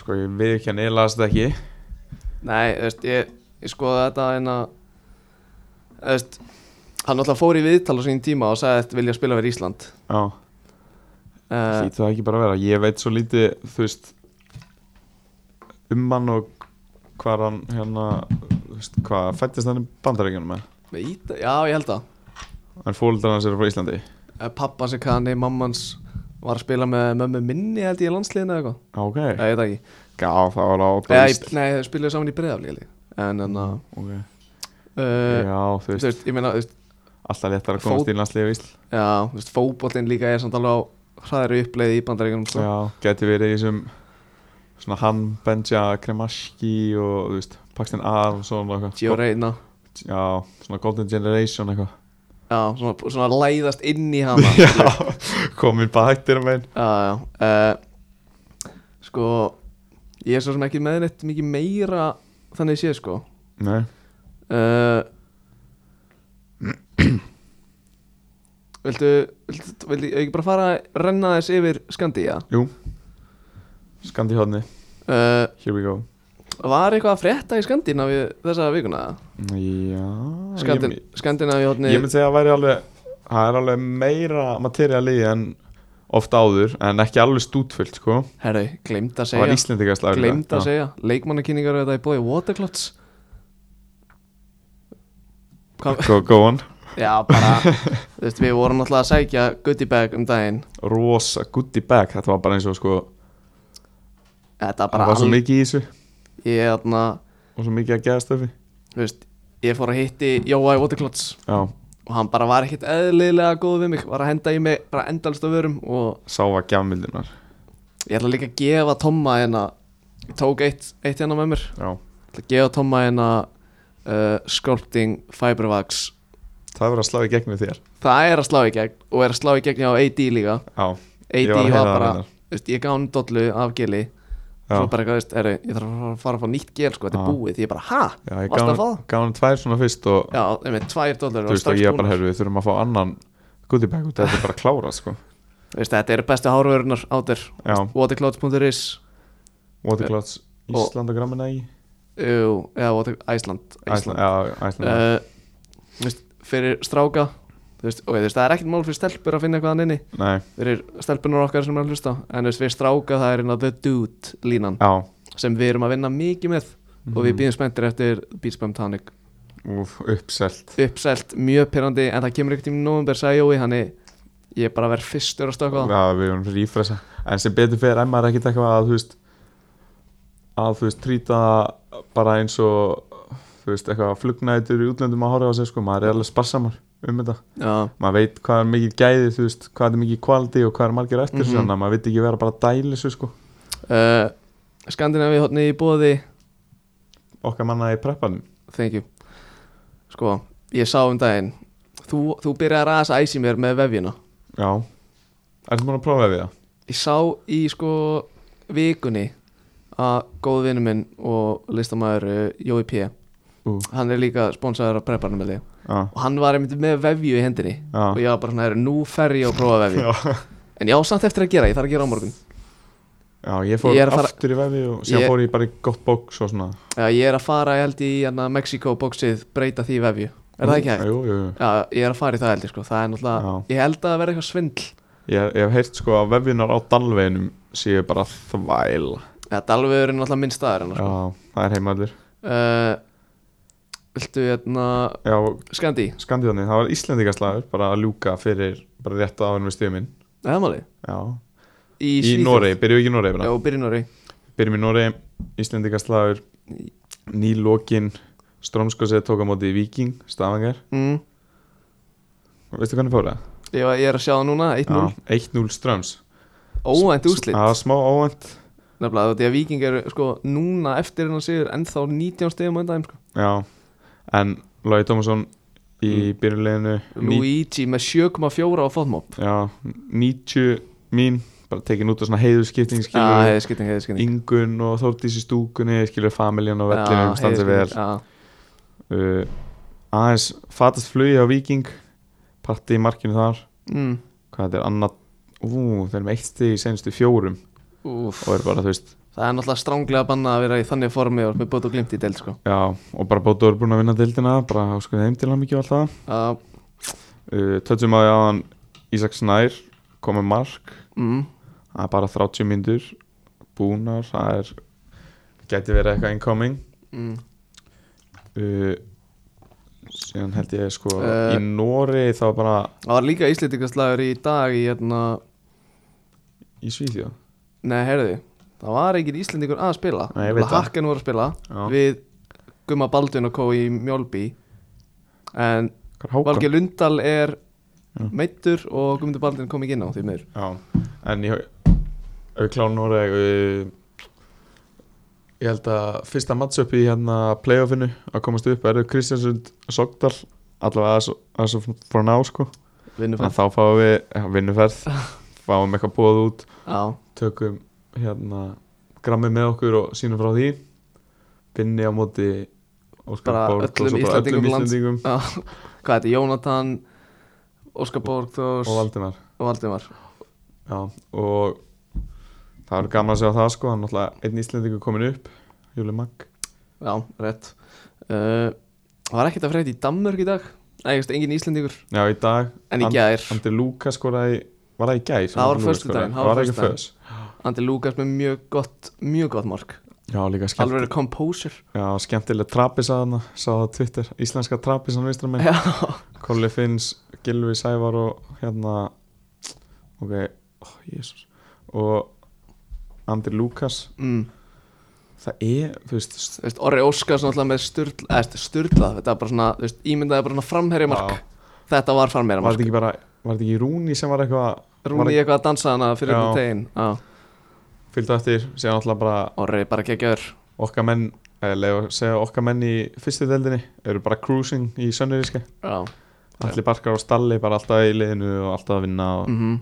Sko, ég við ekki hann, ég las þetta ekki
Nei, þú veist, ég, ég skoða þetta en að Þú veist, hann alltaf fór í viðtal á sín tíma og sagði að vilja spila fyrir Ísland
Já,
uh,
hlýtu það ekki bara að vera Ég veit svo lítið, þú veist Um hann og hvað hann hérna Þú veist, hvað, fættist hann í bandaríkjunum með
með Íta, Já, ég held það
En fólildar hans eru frá Íslandi
Eh, Pappa sem kanni, mammans var að spila með mömmu minni held ég í landsliðinu eða eitthvað
Já, Ok,
Nei, ég veit það ekki
Eh, já, það var á
Eða, í- Nei, þau spiluðu saman í breiðafli held Eh, ég. En, en að
okay.
uh,
Já, þú
Þú
veist,
veist, ég meina, þú veist
alltaf léttar að komast
Fót-
í landslið í Ísl
Já, þú veist, fótbollin líka er samt alveg á hraðari uppleið í bandaríkunum sko.
Já, geti verið í þessum svona hann, Benja, Kremaski og þú veist, Paxton Aronsson og eitthvað
Gio Reyna
Já, svona Golden Generation eitthvað
Já, svona, svona læðast inn í hana
*laughs* Já, komin bættir um einn
Já, já uh, Sko Ég er svo sem ekki með neitt mikið meira Þannig sé sko
Nei,
uh, *clears throat* viltu, viltu Viltu ekki bara fara að renna þess yfir Skandía
jú Skandi hodni,
uh,
here we go
Var eitthvað að frétta í Skandína við þessa vikuna?
Já,
Skandin,
ég,
Skandina við
ég
hóttni
myndi segja að væri alveg það er alveg meira materiál í en oft áður, en ekki alveg stútfullt sko,
Herru, gleymd að
það var
segja
íslendingaslag
Gleymd að segja Leikmannakynningar eru þetta í bóði Waterclots Hvað
Go, go on,
Já,
*laughs*
bara, þú veist, við vorum náttúrulega að sækja goodie bag um daginn
rosa goodie bag þetta var bara eins og sko,
Þetta
það
bara
var svo
all,
mikið í þessu
ég, þarna,
og svo mikið að geða stöfi
þú veist, ég fór að hitti Jóa í Waterclots
já,
og hann bara var ekkert eðlilega góð við mig var að henda í mig bara endalst á vörum og
sá var gjafmildunar
ég ætla líka að gefa Tomma hérna ég tók eitt, eitt hérna með mér
já,
ég ætla að gefa Tomma hérna uh, Sculpting Fibervax
það verður að slá í gegn við þér
það er að slá í gegn og er að slá í gegn hjá AD líka
já,
AD
ég var
var,
að heyra það
bara,
reyndar.
þú veist, ég gaf hann dollu af gili
já,
svo bara eitthvað, veist, er, ég þarf að fara- fara að fá nýtt gel sko, þetta
Já.
er búið, því ég bara, ha,
já ég
varst
gaf
að fá það?
hann- gaf hann tvær svona fyrst og
Já, einmitt, tvær dólar
þú
og
veist
strax
að ég bara
búin
herru, við þurfum að fá annan goodie bag út, þetta er bara að klára sko
veist, Þetta eru bestu hárvörunar á þér
já,
Waterclouds.is
waterclouds Ísland og gramina í
Jú, eða Water, Æsland
Æsland, já, Æsland uh,
Uh, þú veist, Fyrir stráka þú veist, og þú veist, það er ekkert mál fyrir stelpur að finna eitthvað hann inni
nei,
fyrir stelpunar okkar sem er að hlusta en þú veist, fyrir stráka það er hérna the dude línan
já,
sem við erum að vinna mikið með og við býðum spenntir eftir Beats Bum Tonic
Úf, uppselt
uppselt, mjög pyrrandi en það kemur ekkert í november sagði Jói þannig ég er bara að vera fyrstur að stökka á það
Já, við erum rífresa En sem betur fyrir en maður er ekkert eitthvað að þú veist að þú veist trýta bara eins og þú veist eitthvað flugnætur í útlöndum að horfa á sig sko, maður er alveg sparsamar um þetta
Já,
maður veit hvað er mikið gæði þú veist, hvað er mikið kvaldi og hvað er margir eftir
Mhm.
mm -hmm. maður veit ekki vera bara að dæla þessu sko
uh, Skandinavi hotni í bóði
okkar manna í preppanum
thank you sko, ég sá um daginn þú, þú byrjar að rasa æs í mér með vefjuna
Já, ertu búin að prófa við það?
ég sá í sko vikunni að góð vinnu minn og listamæður uh, Jói P
Ú.
hann er líka sponsaður af prepparnum held ég.
Já,
og hann var einmitt með vefju í hendinni og
já,
ég var bara svona, "Heyrðu, nú fer ég að prófa vefju
já.
en ég á samt eftir að gera, ég þarf að gera á morgun
já ég fór
Ég er að fara-
aftur í vefi og síðan
Ég-
fór ég bara í gott bóks og svona
Já, ég er að fara, ég held í hérna, Mexico boxið, breyta því í vefju Er það ekki hægt?
Jú, jú, jú.
Já, ég er að fara í það held ég sko Það er náttúrulega,
Mm. Já.
ég held að það verði eitthvað svindl
Ég, ég hef heyrt sko að vefinar á Dalveginum séu bara þvæl
Já, Dalvegur er náttúrulega minn staður hennar sko
Já, það er heimallir
uh, Viltu hérna,
Já,
Skandi?
Skandíðanni, það var Íslendingaslagur bara að ljúka fyrir bara rétt áður við stíðum inn
Nei, Það máli
Já,
Í,
í, í Noregi, byrjum við ekki í Noregi bara
Já, byrja í Nóri
Byrjum í Noregi, Íslendingaslagur Nýlokin Strömskosið tók á móti Viking, Stavangar
mm,
Veistu hvernig fór það?
ég, var- ég er að sjá það núna, 1-0
Já, 1-0 Ströms
Óvænt úslit
Já, smá óvænt
Nefnilega því að Víking eru sko núna eftir hennar sigur Ennþá 19 stegum á einn dagum sko
Já, en Lói Tómasson í
Mm.
byrjuleginu
Luigi með 7,4 á fótmop
Já, 90 mín bara tekin út á svona heiðurskipting
Já,
skilur við,
heiði skipting, heiði skipting
Ingun og Þórdís í stúkunni skilur familjan og vellinum standa sig vel
Já,
uh, aðeins fatast flugi á Viking patti í markinu þar
mm,
hvað þetta er annað ú, þeir eru með eitt stig í senstu fjórum
úf,
og er bara þú veist
það er náttúrulega stránglega að banna að vera í þannig formi og með bótt og glimt í deild sko.
já, og bara bóttu voru búin að vinna dildina bara áskuðu þeim til hann mikið og allt það
uh,
uh, tötsum að ég aðan Ísak Snær kom með mark
mm,
það er bara 30 myndur búnar, það er gæti verið eitthvað incoming
mm.
uh, síðan held ég sko
Eh.
í Nóri þá bara
Það var líka íslendingaslægur í dag í hérna
í Svíþjóð
Nei, heyrðu, það var engin íslendingur að spila
Nei, ég veit það.
Hakken voru að spila
Já.
Við Gumma Baldun og Kó í Mjólby En
hvað er Hákon?
Valgeir Lundal er
Já.
meittur og Gummundur Baldun kom ekki inn á því miður
Já, en ég ef við kláðum Nóri uh, ég held að fyrsta matchup í hérna playoffinu að komast upp eru Kristjansund Sogdal allavega as, as of for now sko
Vinnu
en
fann
þá fáum við ja, vinnuferð fáum eitthvað búið út
Já,
tökum hérna grammið með okkur og sínum frá því vinni á móti Óskar
Bara
Borg og
öllum
svo bara
Íslendingum lands-
Íslendingum
já. hvað er þetta? Jónatan, Óskar Borg, Þórs
og Valdimar
og Valdimar
já, og það var gaman að sjá það sko hann náttúrulega einn Íslendingur komin upp Júli Magg
Já, rétt uh, Var ekkert að frétta í Danmörk í dag Nei, ég veist, engin Íslendingur
já í dag
En í
And-
gær,
Andri Lúka skoraði var það í gæð
Það var föstudaginn, það
það
var
var ekki
föstudaginn.
föst
Andri Lukas með mjög gott Mjög gott mark,
já líka
alveg
skemmt,
verið composer
já, skemmtileg trapis að hana sá það á Twitter íslenska trapis hann veistur með
Já,
Kolli Finns, Gilvi Sævar og hérna ok, oh, jésus og Andri Lukas
mm.
það er, þú veist st-
Þú veist, Orri Óskars náttúrulega með sturla eða, þú veist, sturla, þetta var bara svona þú veist, Ímyndaði bara svona framherja mark
Já.
Þetta var framherja
var
mark
þetta ekki bara, var þetta ekki Rúni sem var eitthvað, var
Rúni
ekki-
ég eitthvað að dansa hana fyrir
Já.
einhvern tegin Já,
fylgdu eftir segja náttúrulega bara
Orri bara geggjaður
okkar menn eða segja okkar menn í fyrstu deldinni eru bara cruising í sönnuríska
Já,
allir barkar á stalli, bara alltaf í liðinu og alltaf að vinna og,
mhm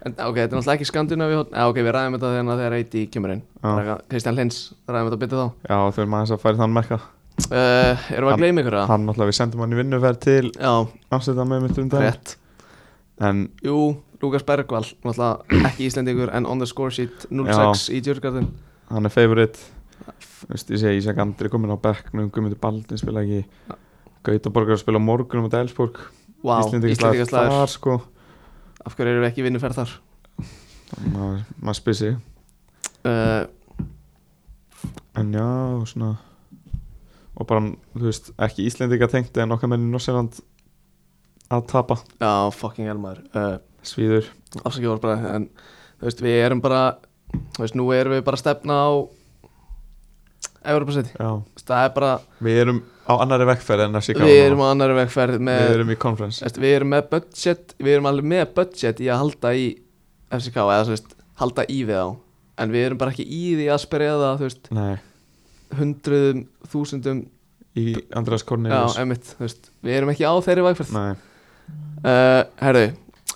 En, ok, þetta er náttúrulega ekki skandinavi hótt ok, við ræðum þetta þegar þegar Eiti kemur inn
já,
Kristján Lins, ræðum þetta að bytta þá
já þau erum aðeins að færi þann merka
uh, Erum við
Hann-
að gleyma ykkur það?
hann náttúrulega, við sendum hann í vinnuferð til
Já,
Amsterdam með mitt um dag
rétt
en
Jú, Lukas Bergvall, náttúrulega ekki Íslendingur en on the score sheet 06 í Djurgarðin
hann er favorite Þú veist, ég segi Ísak Andri er komin á bekknum Guðmundur Baldin spila ekki Gautaborgar spila á morgunum á Dælsborg
Vá,
Íslendingaslagur
Íslendingaslæður,
þar sko
af hverju erum við ekki vinnuferð þar?
maður ma spyr sig
Uh,
en já og svona og bara, þú veist, ekki Íslendinga tengt en okkar menn í Norsjöland að tapa,
já, fucking elmaður uh,
svíður
afsakið voru bara en þú veist, við erum bara þú veist, nú erum við bara að stefna á Evropasæti
já.
það er bara,
við erum á annari vekkferð en að síka
við erum á annar vegferð með,
við erum í conference
veist, við erum með budget við erum alveg með budget í að halda í FCK eða þú veist, halda í við á en við erum bara ekki í því að spreða þú veist,
nei,
hundruðum, þúsundum
í András
já,
Kornelius
emitt, þú veist, við erum ekki á þeirri vegferð uh,
nei,
herðu,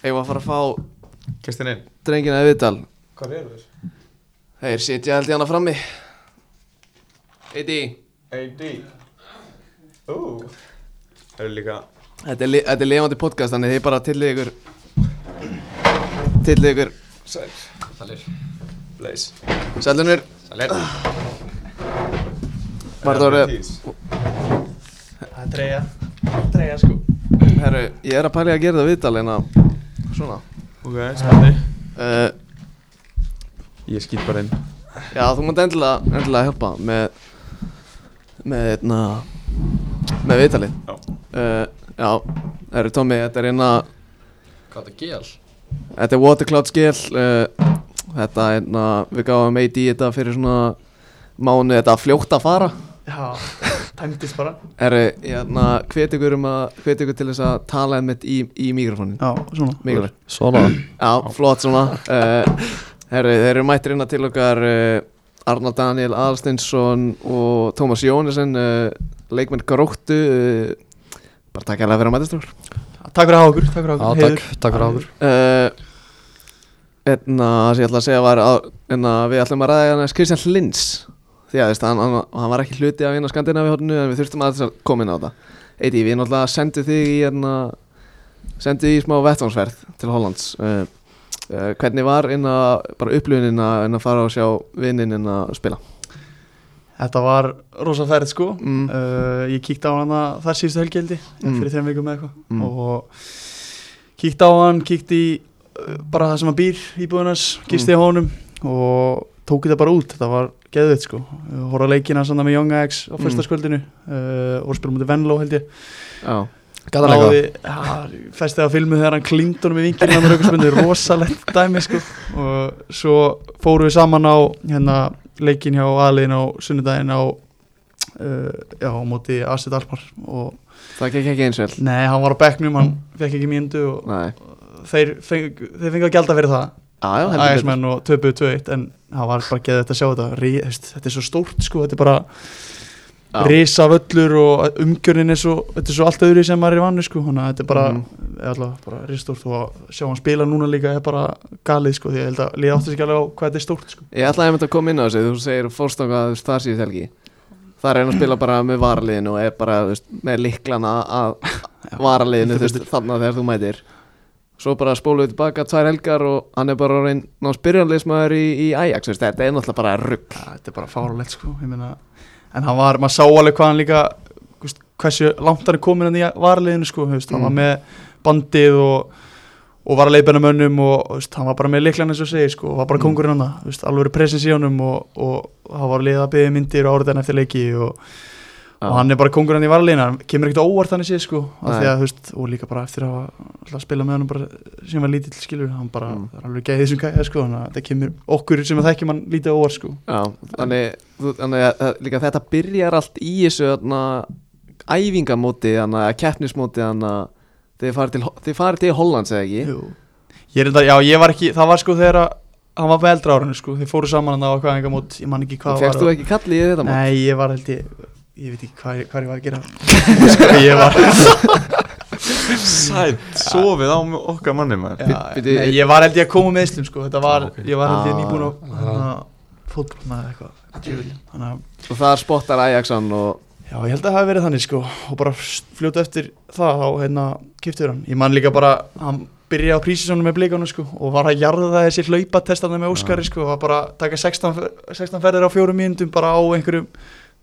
eigum við að fara að fá
Kristin inn
drengina í viðtal
hvað eru þér?
þeir sitja held í hana frammi Eiti
AD ú það eru líka
þetta er, li- þetta er lifandi podcast þannig þið bara tillið ykkur tillið ykkur
sæl,
Salir,
blaze
sælunir
salir
var það orðið
Það er treyja, treyja sko
herru ég er að pæli að gera það viðtal en að svona
ok, spennandi
uh,
ég skýt bara inn
já þú mátt endilega endilega hjálpa með með einna með viðtalið
já,
uh, já herru Tommy þetta er einna
Hvað er gél?
Þetta er Watercloud skil uh, Þetta er, na, við gáum AD í þetta fyrir svona mánu þetta fljótt að fara
Já, tæmdist bara
Herru, hérna, hvet ykkur um að hvet ykkur til þess að tala einmitt í, í mikrofónin
Já, svona
Mikilvægt
Svona
Já, flott svona uh, Herru, þeir eru mættir inn að til okkar uh, Arnar Daniel Aðalstinsson og Tómas Jónesson uh, leikmenn Gróttu uh, bara takk hérlega fyrir að mætast okkur
Takk fyrir að hafa okkur, takk fyrir að
Já,
hafa okkur
takk, takk fyrir áður
uh, einna sem ég ætla að segja var að, einna, við ætlum að ræða hann eins Kristján Lins því að þú veist, hann, hann, hann var ekki hluti af hérna Skandinavi hotnu en við þurftum að að koma inn á það Eiti, við náttúrulega sendum þig í einna, sendum þig í smá vettvánsferð til Hollands uh, uh, hvernig var einna, bara upplifunin að einna fara og sjá vinnin einna spila
Þetta var rosa ferð sko
Mm.
uh, Ég kíkti á hana þar síðustu helgi heldi
Mm.
mm. Fyrir þeim vikum eða eitthvað
Mm.
Og kíkti á hann, kíkti í uh, bara það sem hann býr íbúðunars Gisti á honum Og tók þetta bara út, þetta var geðveitt sko Uh, Horra á leikina sann með Young Ajax á
Mm.
fyrsta sköldinu uh, Og spilum mútið Venlo held ég
Já,
Gæðan eitthvað?
náði, ja, festið á filmu þegar hann klingd honum í vingilin hann var aukarsmyndu, rosalegt dæmi sko. og svo fórum við saman á hérna, leikin hjá aðliðin á sunnudaginn á uh, já, á móti Asit Alpar og
það gekk ekki eins vel
nei, hann var á bekknum,
Mm.
hann fekk ekki míndu og
Nei,
þeir, feng, þeir fengu að gjalda fyrir það
já, já, heldur betur.
Ægismenn og 2-2-1 en það var bara geðið þetta að sjá þetta Rí, hefst, þetta er svo stórt sko, þetta er bara
Já.
risa völlur og umgjörnin er svo, þetta er svo allt öðru sem maður er vannu sko, þannig að þetta er bara
Mhm.
mm. allavega, bara ristórt og að sjá hann spila núna líka er bara galið sko, því ég held að liða áttu sig ekki alveg á hvað þetta er stórt sko.
Ég ætlaði einmitt að koma inn á þessu, þú segir fórstanga að það síðust helgi Það er hann að spila bara með varaliðinu og er bara þú veist, með liklana að varaliðinu þú veist, þannig að þegar þú mætir Svo bara spóluðu tilbaka tvær helgar og hann er bara orðinn ná spyrjanleismæður í, í Ajax, þú veist, þetta er náttúrulega bara rugg
ja, þetta er bara fárulegt sko, ég meina en hann var, maður sá alveg hvað hann líka þú veist, hversu langt hann er komin hann í varaliðinu sko, hefst, hann var
Mm.
með bandið og, og var að leiðbæna mönnum og þú veist, hann var bara með leiklan eins og segir sko, og var bara kongurinn hann það, alveg presens í honum og, og hann var að leiða að byggja myndir og áriðan eftir leiki og, og hann er bara kongurinn í varaliðinu, hann kemur ekkert á óvart hann í sig sko, af því
Nei.
að, þú veist, og líka bara eftir að, að spila með hann bara, sem var lítill skilur, hann bara,
Mm.
það er alveg gæðið sem gæðið sko, þannig að þetta kemur okkur sem að þekkjum hann lítið á óvart sko.
Já, þannig, þú, þannig að, að líka þetta byrjar allt í þessu þarna, æfingamóti, þannig að keppnismóti þannig að þið farið til, þið farið til Hollands eða ekki
Jú. Ég er þetta, já, ég var ekki, það var sko þegar að hann var með eldra árinu sko, þeir fóru saman hann á hvað enga mót, ég man ekki hvað
Fegst þú
var
ekki kallið í þetta mót?
Nei, ég var held ég, ég veit ekki hvað, ég- hvað ég var
*laughs*
að gera sko, Ég var,
sæl, sofið á okkar manni maður
já,
bíddu,
nei, ég var held ég að koma með Íslum sko, þetta var,
Ah, ok.
ég var held ég
Ah,
nýbúin á hérna, fótbolna eða eitthvað djöfullinn. Þannig að,
Og það spottar Ajaxan og
já, ég held að það hafi verið þannig sko og bara fljóta eftir það þá hérna kiptur hann, ég man líka bara hann byrjaði á prísisónu með blíkanu sko og var að jarða það þessi hlaupatestana með Óskari sko og var bara að taka 16, fer- 16 ferðir á fjórum mínundum bara á einhverjum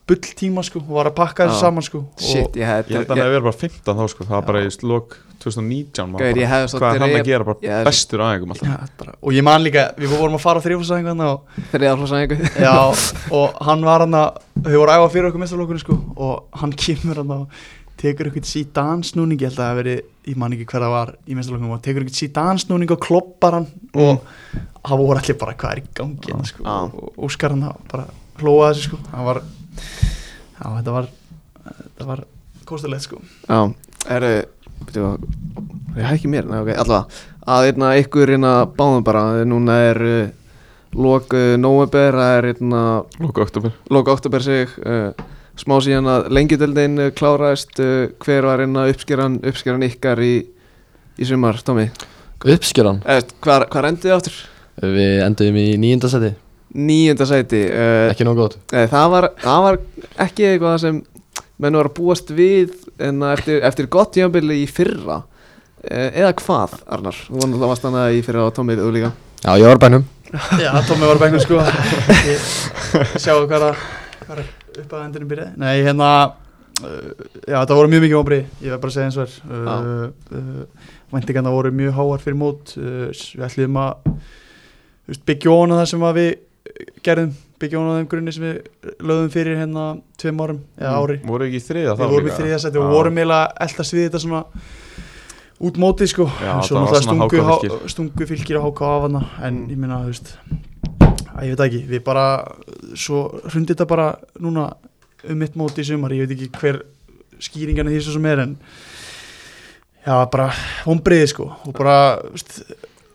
bull tíma sko og var að pakka þessu
Já.
saman sko og
Shit, ég
Ég held
hefði
að hann hefði verið bara 15 þá sko, það var bara í slok 2019 maður
Gauðir, ég
bara,
hefði svo
Hvað er hann að
drep-
gera, bara
ég hefði-
bestur aðeingum alltaf
Já, bara, og ég man líka, við vorum að fara á þrjófasæðingu hann og,
þriðaflossaðingu
*laughs*
já, og hann var hann að, þau voru að æfa fyrir okkur mestarlokkunni sko og hann kemur hann og tekur eitthvað síðan snúning, ég held að það hafi verið, ég man ekki hver það var í mestarlokkunum og tekur eitthvað síðan snúning og kloppar hann og hann voru allir bara hvað er í gangi hérna sko
Já.
og Óskar hann að bara hlóa þessu sko, hann var, já þetta var, þetta var kostilegt sko.
Já, eru Býtu, ég hækki mér, nei, ok, allavega að einna ykkur einna báðum bara að núna er uh, lok uh, november, það er einna
Lok oktober
lok oktober sig uh, smá síðan að lengjudeldin uh, kláraðist, uh, hver var einna uppskeran, uppskeran ykkar í í sumar, Tómi?
Uppskjöran,
Eh, Hvað hvað rendið þið áttur?
við endum í nýjunda seti
Níunda sæti uh,
Ekki nóg gott
Nei, það var, það var ekki eitthvað sem menn var að búast við en að eftir, eftir gott jömbili í fyrra eh, eða hvað, Arnar? Þú var náttúrulega varst hana í fyrra á Tommið og líka
Já, ég var á bænum
Já, Tommi var á bæknum sko Ég- Sjáu hvað er hvað er upp að endinu byrjaði Nei, hérna uh, Já, þetta voru mjög mikið vonbrið Ég verð bara að segja eins og er uh, uh, Væntingarna voru mjög háar fyrir mót uh, s- Við ætlum að þú veist, byggja ofan á það sem að við uh, gerðum byggja ofan á þeim grunni sem við lögðum fyrir hérna tveim árum eða ári
Voru ekki í þriða þá
Við vorum í þriðasæti og vorum eiginlega eldast við þetta svona út móti sko
Já,
En svo
þetta var svona
náttúrulega stungu,
HK
há- stungu fylgir á háka af hana en
Mm.
ég minna þú veist að ég veit það ekki, við bara svo hrundi þetta bara núna um mitt móti í sumar, ég veit ekki hver skýringan er því svo sem er en já, bara vonbriði sko og bara þú veist,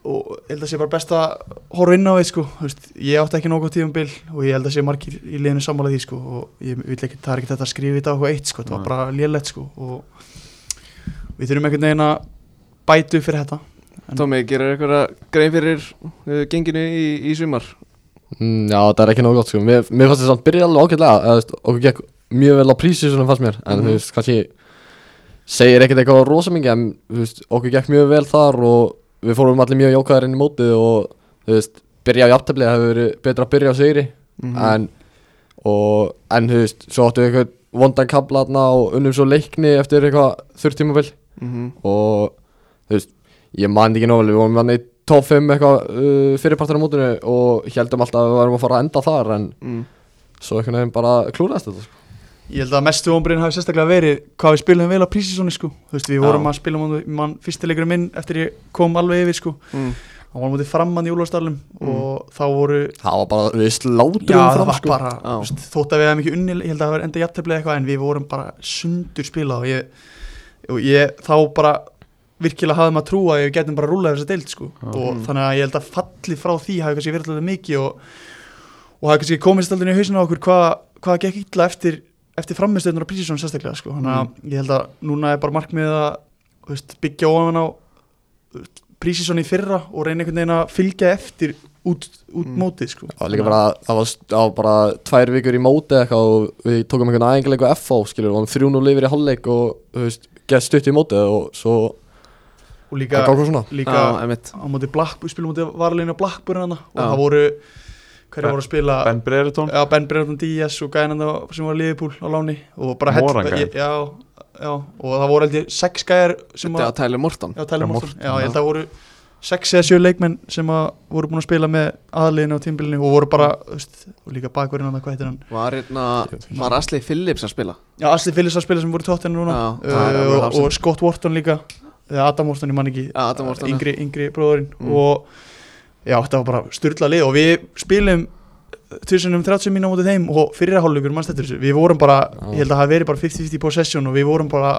og ég held að sé bara best að horfa inn á því sko, þú veist, ég átti ekki nokkuð tíum bil og ég held að sé margir í liðinu sammála því sko og ég vil ekki, það er ekki þetta að skrifa þetta á eitthvað eitt sko, það var
Nei.
bara lélegt sko og við þurfum einhvern veginn að bætu fyrir þetta En-
Tommi, gerir eitthvað grein fyrir uh, genginu í, í sumar?
mm, Já, það er ekki nóg gott sko Mér, mér fannst þess að byrja alveg ágætlega eða, þú veist, Okkur gekk mjög vel á prísi svona fannst mér En
Mhm.
þú veist, kannski Segir ekkert eitthvað rosa mingi En þú veist, okkur gekk mjög vel þar Og við fórum allir mjög jókaðar inn í mótið Og þú veist, byrja á jafntefli Það hefur verið betra að byrja á sigri
Mhm.
en, og, en þú veist, svo áttu við eitthvað vondan kabla þarna og unnum svo leikni eftir eitthvað þurr tímabil
mm -hmm.
og þú veist, ég man ekki nógulega, við vorum hann í top 5 eitthvað uh, fyrirpartur á mótinu og heldum alltaf að við varum að fara að enda þar en
mm.
svo einhvern veginn bara klúraðist þetta sko.
Ég held að mestu vonbrinn hafi sérstaklega verið hvað við spilum vel á prísisónu sko Þú veist, við vorum að spila mann, mann fyrstileikurinn minn eftir ég kom alveg yfir sko
Mm.
Hann var mútið framman í Úlfarsdalum og þá voru
það var bara, við sláttum
Já, það
fram
var
sko.
bara,
Já.
þú veist, þótt að við hefum ekki unni ég held að það var enda jafnteflið eitthvað en við vorum bara sundur spilað og ég, og ég þá bara virkilega hafði maður trú að við getum bara rúlað þessa deild sko og þannig að ég held að fallið frá því hafi kannski verið alltaf mikið og, og hafi kannski komist alltaf í hausinu á okkur hvað hva gekk illa eftir, eftir frammeðstöðunar og prísisón sérstaklega sko þannig að
Mm.
ég held að núna er bara markmiðið að þú veist, byggja ofan á prísisón í fyrra og reyna einhvern veginn að fylgja eftir út, út
Mm.
mótið sko
Það var líka bara, það var, það var bara tvær vikur í móti eitthvað og við tókum einhvern aðengileik á FH, skilur, við varum 3-0 yfir í hálfleik og, þú veist, gett stutt í móti og svo,
og líka,
það gáði svona
líka
Já, einmitt
á móti Blackburn, spilum á móti varleginu Blackburn hana og
Já.
það voru hverja voru að spila
Ben Brereton
já, ben Brereton Díaz og gæðan hana sem var að Liverpool á láni og bara hell-
Moran gæjar.
já, já, og það voru held ég sex gæjar sem
Þetta
að
að tæla Morton
já, Tyler
Já,
Morton,
Morton,
já, ég held að það voru sex eða sjö leikmenn sem að voru búin að spila með aðliðinu á tímbilinu og voru bara þú veist, og líka bakverðin hana, hvað heitir hann
Var einna, var Asli Phillips að spila
já, Asli Phillips að spila sem voru tóttinu núna
Já, það er
uh,
alveg
og,
absent.
og Scott Wharton líka eða Adam Wharton, ég man ekki
Já, Adam Morton
yngri, yngri bróðurinn
Mm.
og já, þetta var bara styrla lið og við spilum 1030 mínu á mótið þeim og fyrra hálfleikur mannst eftir þessu, við vorum bara
Já.
ég held að hafa verið bara 50-50 possession og við vorum bara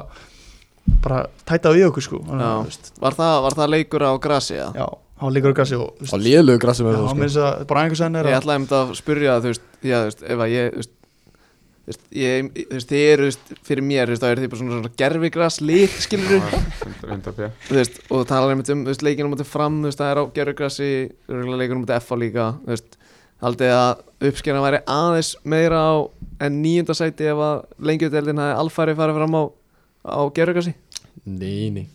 bara tætað við okkur sko Þannig að,
Já.
þú veist,
Var það, var það leikur á grasi, eða?
já, hann var líka úr gassi og þú
og
veist,
liðlugu græsum
já,
með það
hann
sko.
minnst að bara einhvers veginn er
Ég
að
ætlaði um þetta að spyrja þú veist, já, þú veist, ef að ég þú veist, þú veist, ég, þú veist, þið eru þú veist, fyrir mér, þú veist, þá eru þið bara svona, svona gerfigras lík, skilur
Vindabjö
þú veist, og talar einmitt um, þú veist, leikinu mútið fram, þú veist, það er á gerfigrasi leikinu mútið FA líka, þú veist haldið að uppskerna væri aðeins meira á en nýjunda sæti ef að lengjudeldin hafi alfæri farið fram á á gerfigrasi,
Nei, nei,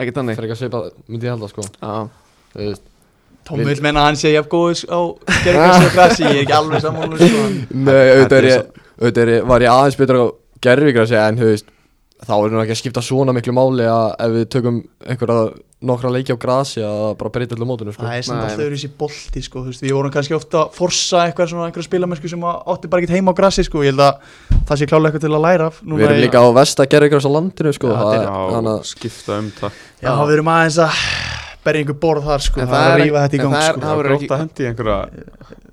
ekki þannig
fyrir ekki að svipa, myndi ég halda sko
Já,
Þú veist,
Tommi vil menna að hann sé jafn góðis á gerðgassi og gassi, ég er ekki alveg sammála sko.
Nei, auðvitað
Þetta er
er ég auðvitað er ég- var ég aðeins betur á gerðvíkra segja en þú veist þá er nú ekki að skipta svona miklu máli að ef við tökum einhverja nokkra leiki á grasi að það bara breyta allir mótinu sko.
Það er samt
Nei.
alltaf öðru í sér bolti sko, þú veist, við vorum kannski ofta að forsa eitthvað svona einhverja spilamennsku sem að átti bara ekkert heima á grassi sko, ég held að það sé klálega eitthvað til að læra af núna
Við erum
í-
líka á vest að gerðvíkra á landinu sko,
Já,
það
þetta
er- þannig
Já,
að
skipta um takk
Já, við erum aðeins að berja einhver borð þar sko,
En
það er að rífa þetta
en
í gang
það er-
sko
það verður ekki-
Gróta hendi í einhverja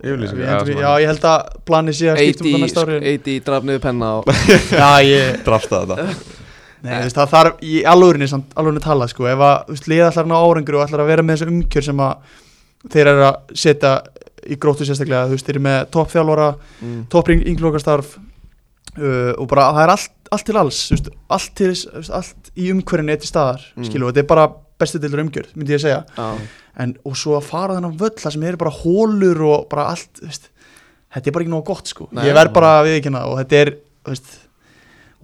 yfirlýsingu
Við
eða
endum í-
svona.
Já, ég held að planið sé að skiptum það næsta ári en-
AD drafniðu penna
*laughs*
og
Já, ég
drafta þetta
Nei, þú veist, það þarf í alvörinni samt, alvörinni tala sko, ef að, þú veist, liða allar ná árangri og allar að vera með þessu umkjör sem að þeir eru að setja í gróttu sérstaklega, þú veist, þeir eru með toppþjálfara,
mm.
toppring ynglokarstarf uh, og bara það er allt, allt til alls, þú veist, allt til þess- þú veist, allt í umhverfinu er til staðar,
Mm.
mm. skilju, þetta er bara bestu deildur umgjörð, myndi ég að segja,
Já,
en og svo að fara á þennan völl, það sem eru bara hólur og bara allt, þú veist, þetta er bara ekki nóg gott, sko,
Nei.
ég verð bara að viðkynna það og þetta er, þú veist,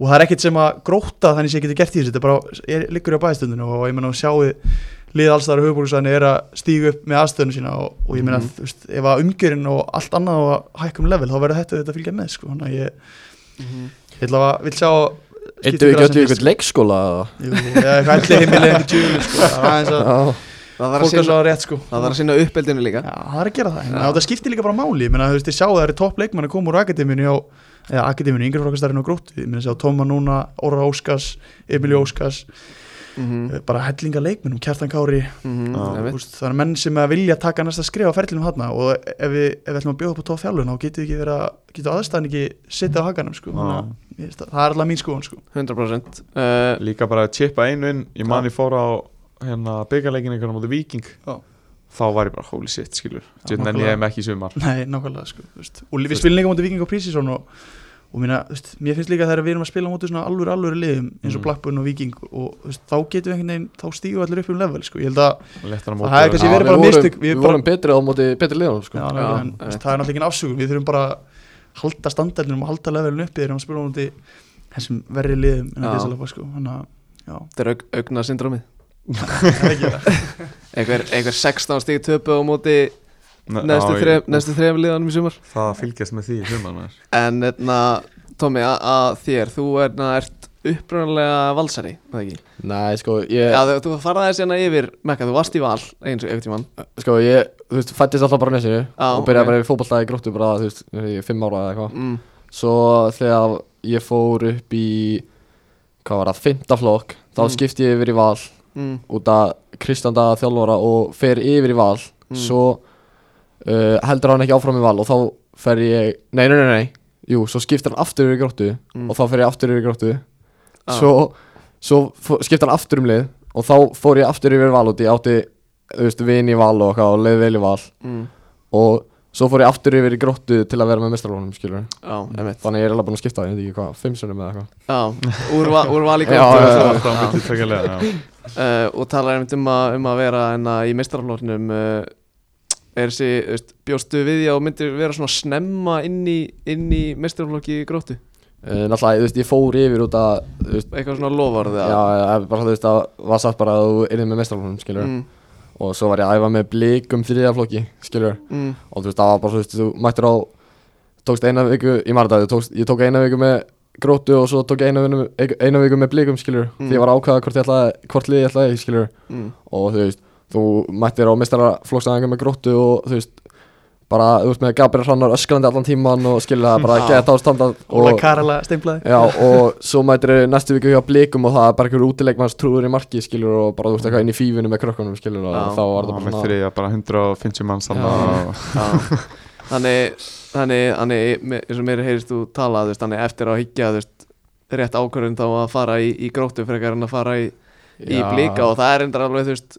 og það er ekkert sem að gróta þannig sem ég geti gert í þessu, þetta er bara, ég liggur á bæðstundinu og ég menna að sjáu lið allstæðar höfuborgsæðinu er að stígu upp með aðstöðunum sína og, og ég meina
Mhm.
mm. veist, ef að umgjörinn og allt annað og að hækkum level þá verður þetta þetta fylgja með sko, þannig að ég Ég ætla að vil sjá
Eittu við ekki öllu ykkur leikskóla eða?
Jú, eða eitthvað allir heimilega einhver djúli sko. Það er aðeins að
*laughs* Já,
það þarf að
fólk er
sinna
svo rétt sko
Það þarf að sinna uppeldinu líka
Já, það er að gera það,
Já.
það skiptir líka bara máli Ég meina, þú veist, ég sjá að það eru topp leikmenn að koma úr akademíunni á, eða akademíunni, yngri frákastarinn á grótt Ég meina, sjá Tóma núna, Óra Óskars, Emilí
Mm.
Óskars eh,
Mhm,
bara hellinga leikmennum, Kjartan Kári
mhm,
Já.
einmitt.
úst, það eru menn sem að vilja taka næsta skrif á ferlinum þarna og ef við, ef við ætlum að bjóða upp á tóf fjálun þá getur við ekki verið að getur aðstæðan ekki setja á hakanum sko.
Já.
Þannig að, ég veist, það er alltaf mín skoðun sko.
100% uh,
Líka bara að chippa einu inn Ég man ég fór á hérna byggarleikin einhverja móti viking
Já.
Þá var ég bara holy shit skilur
Já,
Þetta nenni ég
nákvæmlega.
hef ekki í sumar
Nei, nákvæmlega sko, þú veist. Og við spilum líka mútið Viking og Prísísson og, og mína, þú veist, mér finnst líka þegar við erum að spila mútið svona alvöru, alvöru liðum eins og
Mm.
Blackburn og Viking og þú veist, þá getum við einhvern veginn, þá stígum við allir upp um level sko. Ég held að,
Lettar að móti
Það er kannski-
vera-
við
verið bara
vorum-
mistök, við
Við
bara-
vorum betri á móti betri liðanum
já,
sko
nákvæmlega, en,
já,
þú veist, það er náttúrulega engin afsökun, við þurfum bara að halda standardinum og halda levelinu uppi þegar við spilum mútið þessum verri liðum en
Já.
að lesa sko. Þannig að, já,
Þetta er aug, augna
*laughs*
syndrómið
það er ekki
Einhver, einhver 16 stík töpu á móti
Nei,
næstu
já,
þrem-
ég-
næstu þrejum liðanum í sumar
Það að fylgjast með því í sumar maður.
En hérna, Tommy, a- að þér Þú er, na, ert upprunalega valsari er það ekki?
Nei, sko, ég,
Já, þú, þú farðaði sérna yfir Mekka, þú varst í val eins og einhvern tímann
sko, ég, þú veist, fættist alltaf bara á nesinu
Já,
og byrjaði
ok.
bara í fótballtæði gróttu bara, þú veist, þegar ég er fimm ára eða eitthvað
mm,
Svo þegar ég fór upp í, hvað var það, fymta flokk, þá
Mm.
skipti ég yfir í val
mm,
út af Kristján Daga þjálfara og fer yfir í val
Mm.
Svo uh, heldur hann ekki áfram í val og þá fer ég, nei, nei, nei, nei, jú, svo skiptir hann aftur yfir í gróttu
mm.
og þá fer ég aftur yfir í gróttu
Ah.
svo, svo fó- skipti hann aftur um lið og þá fór ég aftur yfir val út ég átti, þú veist, vin í val og eitthvað og leið vel í val
mm,
og svo fór ég aftur yfir í gróttu til að vera með mestralónum, skilur
Já, emitt
þannig að ég er alveg búin að skipta, ég veit ekki hvað, fimm sunnum eða eitthvað
Já, úr, va, úr val í
Já,
Það
gróttu
er
já,
alltaf
Já.
að myndi tvekja lega já.
uh, og talar einmitt um að, um að vera enna, í meistaraflóknum uh, er þessi, þú veist, bjóstu við því að þú myndir vera svona snemma inn í, inn í meistaraflóki gróttu
Eh, náttúrulega, þú veist, ég fór yfir út að þú veist,
eitthvað svona lofarð
já, eh, bara þú veist, það var satt bara að þú erið með mestralónum, skilur
mm,
og svo var ég að æfa með blikum þriðaflokki, skilur
mm,
og þú veist, það var bara, þú veist, þú mættir á tókst eina viku, ég marði það, tókst, ég tók eina viku með grótu og svo tók ég eina, vinu, eina viku með blikum, skilur
Mm.
því ég var að ákvaða hvort, ég ætlaði, hvort liði ég ætlaði, í, skilur
mm,
og þú veist, þú mættir á mistaraflokksæðingar með gróttu og þú veist bara, þú veist með Gabriel Hrannar öskrandi allan tíman og skilur
*laughs*
það bara
Já.
gett ástandað
Óla
og,
Karala steimplaði
já, og svo mættir þau næstu viku hjá blikum og það er bara einhver útileikmanns trúður í marki skilur og bara þú veist eitthvað inn í fífinu með krökkunum skilur og
Já.
þá
Já,
var það
með
bara svona
þriðja bara 150 manns
Já.
þannig
já. þannig þannig, þannig me- eins og mér heyrist þú tala þú veist, þannig eftir á higgja þú veist, rétt ákvörðun þá að fara í, í gróttu frekar en að fara í, í
Já.
blika og það er endur alveg þú veist,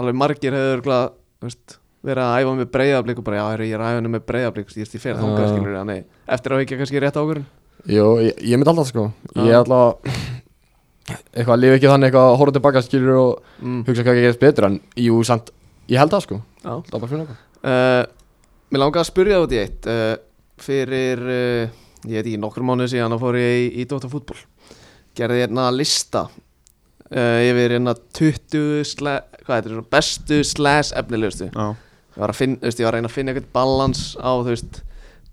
alveg margir hefur örugglega, þú veist, verið að æfa með breyðablík og bara já, heyrðu, ég er að æfa með breyðablík ég veist, ég fer þangað
Já.
skilur þannig eftir á higgja kannski rétt ákvörðun
Jú, ég, ég myndi alltaf sko ég
Já.
alltaf eitthvað, lifi ekki þannig eitthvað að horfa tilbaka skilur og
mm.
hugsa hvað ekki gerist betur en jú, samt, ég held það sko
Já.
það var bara fyrir eitthvað
Uh, mér langar að spyrja það út í eitt uh, fyrir, uh, ég veit ekki, nokkur mánuð síðan þá fór ég í, í Dóta fútbol gerði hérna lista uh, yfir hérna 20 sle, hvað heitir þetta, bestu slash efnilegustu
að
ég var að finna, þú veist, ég var að reyna að finna eitthvað balans á, þú veist,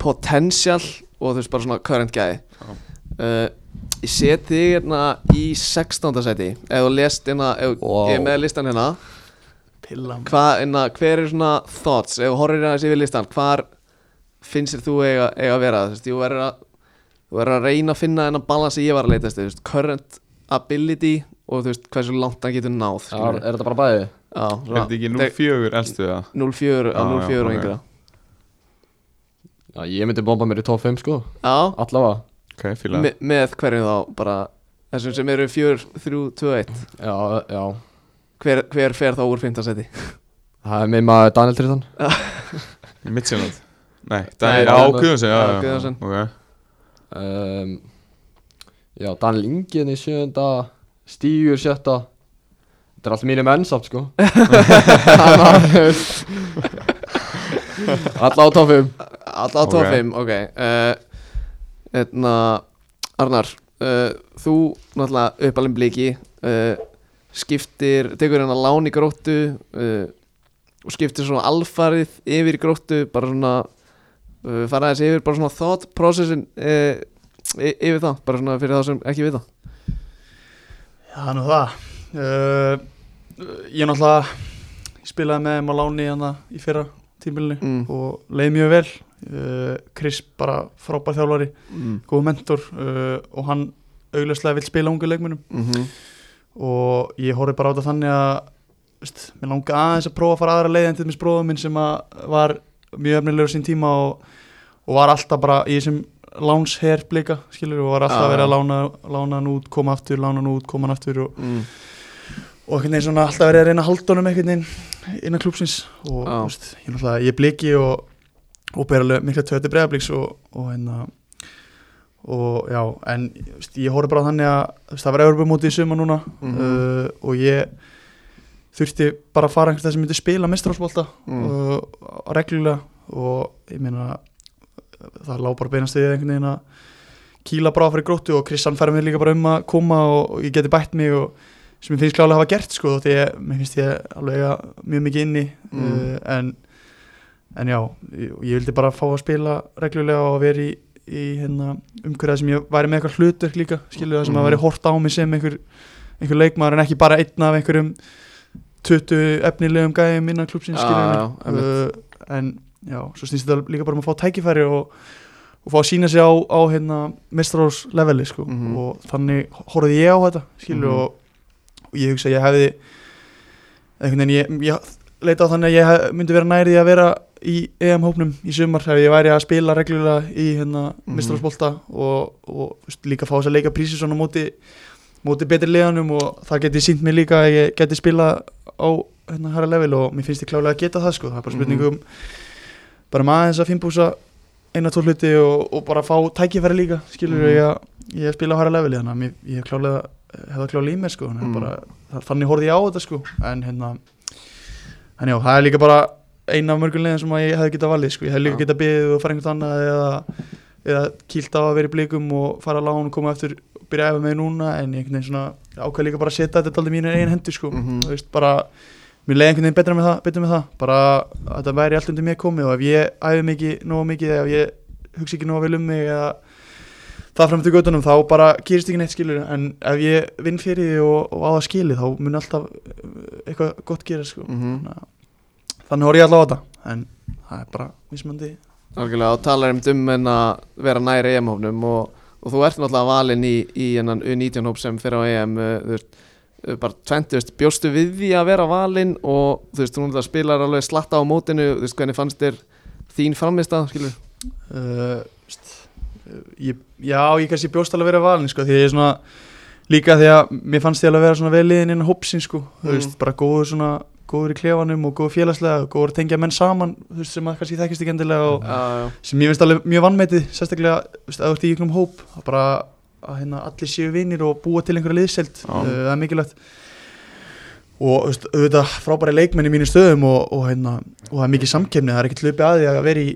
potential og þú veist bara svona current gæði
Já.
uh, ég set þig hérna í 16. sæti ef þú lest hérna, ef
Wow.
ég er með listan hérna
Pilla maður.
hva, hérna, hver er svona thoughts ef þú horfir hérna yfir listan, hvar finnst þér þú eiga, eiga að vera þú veist, þú verður að, þú verður að reyna að finna þennan balans sem ég var að leita eftir, þú veist, current ability og þú veist hversu langt hann getur náð
Er,
skilurðu.
er þetta bara bæði?
Já,
Er þetta ekki nú fjögur elstu það?
04 á
Já,
04 og
já,
yngra
Já, ég myndi bomba mér í top 5 sko
Já,
Allavega
Ok, fíla
me, með hverjum þá bara þessum sem eru 4, 3, 2, 1
Já, já
hver, hver fer þá úr 5. seti
Það er með maður Daniel Tristan
Midtjylland Nei, Daniel,
Nei,
já,
Daniel-
Guðjónsson Já,
Já,
já,
Guðjónsson.
ok.
um, Já, Daniel Ingen í sjönda Stígur sjötta Þetta er allt mínu menn samt *laughs* sko Allá á top 5
Alla á
Ok.
25, ok uh, Etna, Arnar uh, Þú náttúrulega uppalinn bliki uh, skiptir, tekur hérna lán í gróttu uh, og skiptir svona alfarið yfir í gróttu bara svona uh, fara þessi yfir bara svona thought processin uh, y- yfir það, bara svona fyrir þá sem ekki vita
Já, það er nú það uh, Ég náttúrulega ég spilaði með þeim á láni hana í fyrra tímilinu
Mm.
og leið mjög vel uh, Chris bara frábær þjálfari
Mm.
góð mentor uh, og hann augljóslega vill spila ungu leikmunum
mm
og ég horfði bara á þetta þannig að veist, mér langa aðeins að prófa að fara aðra leið en til þess bróðum minn sem að var mjög efnilegur sín tíma og, og var alltaf bara í þessum lánsherr blika skilur og var alltaf
Já,
að vera
já.
að lána, lána hann út, koma aftur, lána hann út, koma hann aftur og,
Mm.
og einhvern veginn svona alltaf verið að reyna að halda honum einhvern veginn innan klúpsins og
Já.
þú veist, ég náttúrulega, ég bliki og, og ber alveg mikla töti breiðabliks og, og hérna og já, en þú veist, ég horfði bara þannig að þú veist, það var Evropamóti í suma núna
Mhm.
uh, og ég þurfti bara að fara einhvers það sem myndi spila mestrálsbólta
Mm.
mm. uh, reglulega og ég meina það lá bara beinast við einhvern veginn að kýla bara á fyrir gróttu og Krissan fær mér líka bara um að koma og, og ég geti bætt mig og sem ég finnst klálega að hafa gert sko því ég, mér finnst ég alveg eiga mjög mikið inni
Mm.
uh, en, en já, ég, ég vildi bara fá að spila reglulega og vera í, í hérna, umhverjað sem ég væri með eitthvað hlutverk líka skilur það sem
Mhm.
að væri hort á mig sem einhver, einhver leikmaður en ekki bara einn af einhverjum 20 efnilegum gæðum innan klúpsins
Já, já,
skilur uh, en já, svo snýst þetta líka bara um að fá tækifæri og, og fá að sína sig á, á hérna, mestrarós leveli sko.
Mhm.
og þannig horfði ég á þetta skilur
Mhm.
og, og ég hugsa að ég hefði einhvern veginn ég, ég leita á þannig að ég hef, myndi vera nærið að vera í EM hópnum í sumar ef ég væri að spila reglulega í hérna,
Mhm.
mestrarásbolta og, og þú veist, líka fá þess að leika prísi svona á móti móti betri liðanum og það geti sínt mér líka að ég geti spila á hérna hæra level og mér finnst ég klálega að geta það sko, það er bara
Mhm.
spurning um bara maður aðeins að finnbúsa eina tvo hluti og, og bara fá tækifæri líka skilur
Mhm.
ég að ég spila á hæra level þannig að mér, ég hef klálega hefða klálega í mér sko, mm.
Mhm.
bara, þa- þannig horfði ég á þetta sko en hérna en já, það er líka bara eina af mörgum leiðin sem að ég hefði getað valið sko, ég hefði líka
Já.
getað beðið og fara einhvern annað eða eða kýlt á að vera í blikum og fara að lána og koma eftir og byrja að efa með núna en ég einhvern veginn svona ákveð líka bara að setja þetta aldrei mínu einu hendur sko
Mhm.
þú veist bara mér leiði einhvern veginn betra með það, betur með það bara að þetta væri allt undir mér komið og ef ég æfi mikið, nógu mikið eða ef ég hugsa ekki nógu vel um mig eða það fram til göttunum þá bara gerist ekki neitt skilur en ef ég vinn fyrir því og, og á það skili þá mun alltaf uh, eitthvað gott gera sko
Mhm.
þannig, að- þannig horf ég alltaf á þetta en það er bara mismandi
Algjörlega, og talar um dum en að vera næri EM-hófnum og, og þú ert náttúrulega valinn í, í hennan U19-hóp sem fyrir á EM uh, þú veist, uh, bara 20, þú veist, bjóstu við því að vera valinn og þú veist, þú náttúrulega spilar alveg slatta á mótinu, þú veist, hvernig fannst þér þín framista, skilur?
uh, veist, uh, ég, já, ég kannski bjóst alveg að vera valin sko, því að ég er svona líka því að mér fannst ég alveg að vera svona vel liðin innan hópsin sko, þú
Mm.
veist, bara góður svona góður í klefanum og góður félagslega og góður að tengja menn saman, þú veist, sem að kannski þekkist ekki endilega og
Já,
sem ég finnst alveg mjög vannmetið sérstaklega, þú veist, að þú ert í ykkur hóp að bara að hérna, allir séu vinnir og búa til einhverja liðselt,
Já.
uh, það er mikilvægt og þú veist, auðvitað frábæri leikmenn í mínu stöðum og, og, hérna, og það er mikið samkemni, það er ekkert hlupi að því að vera í,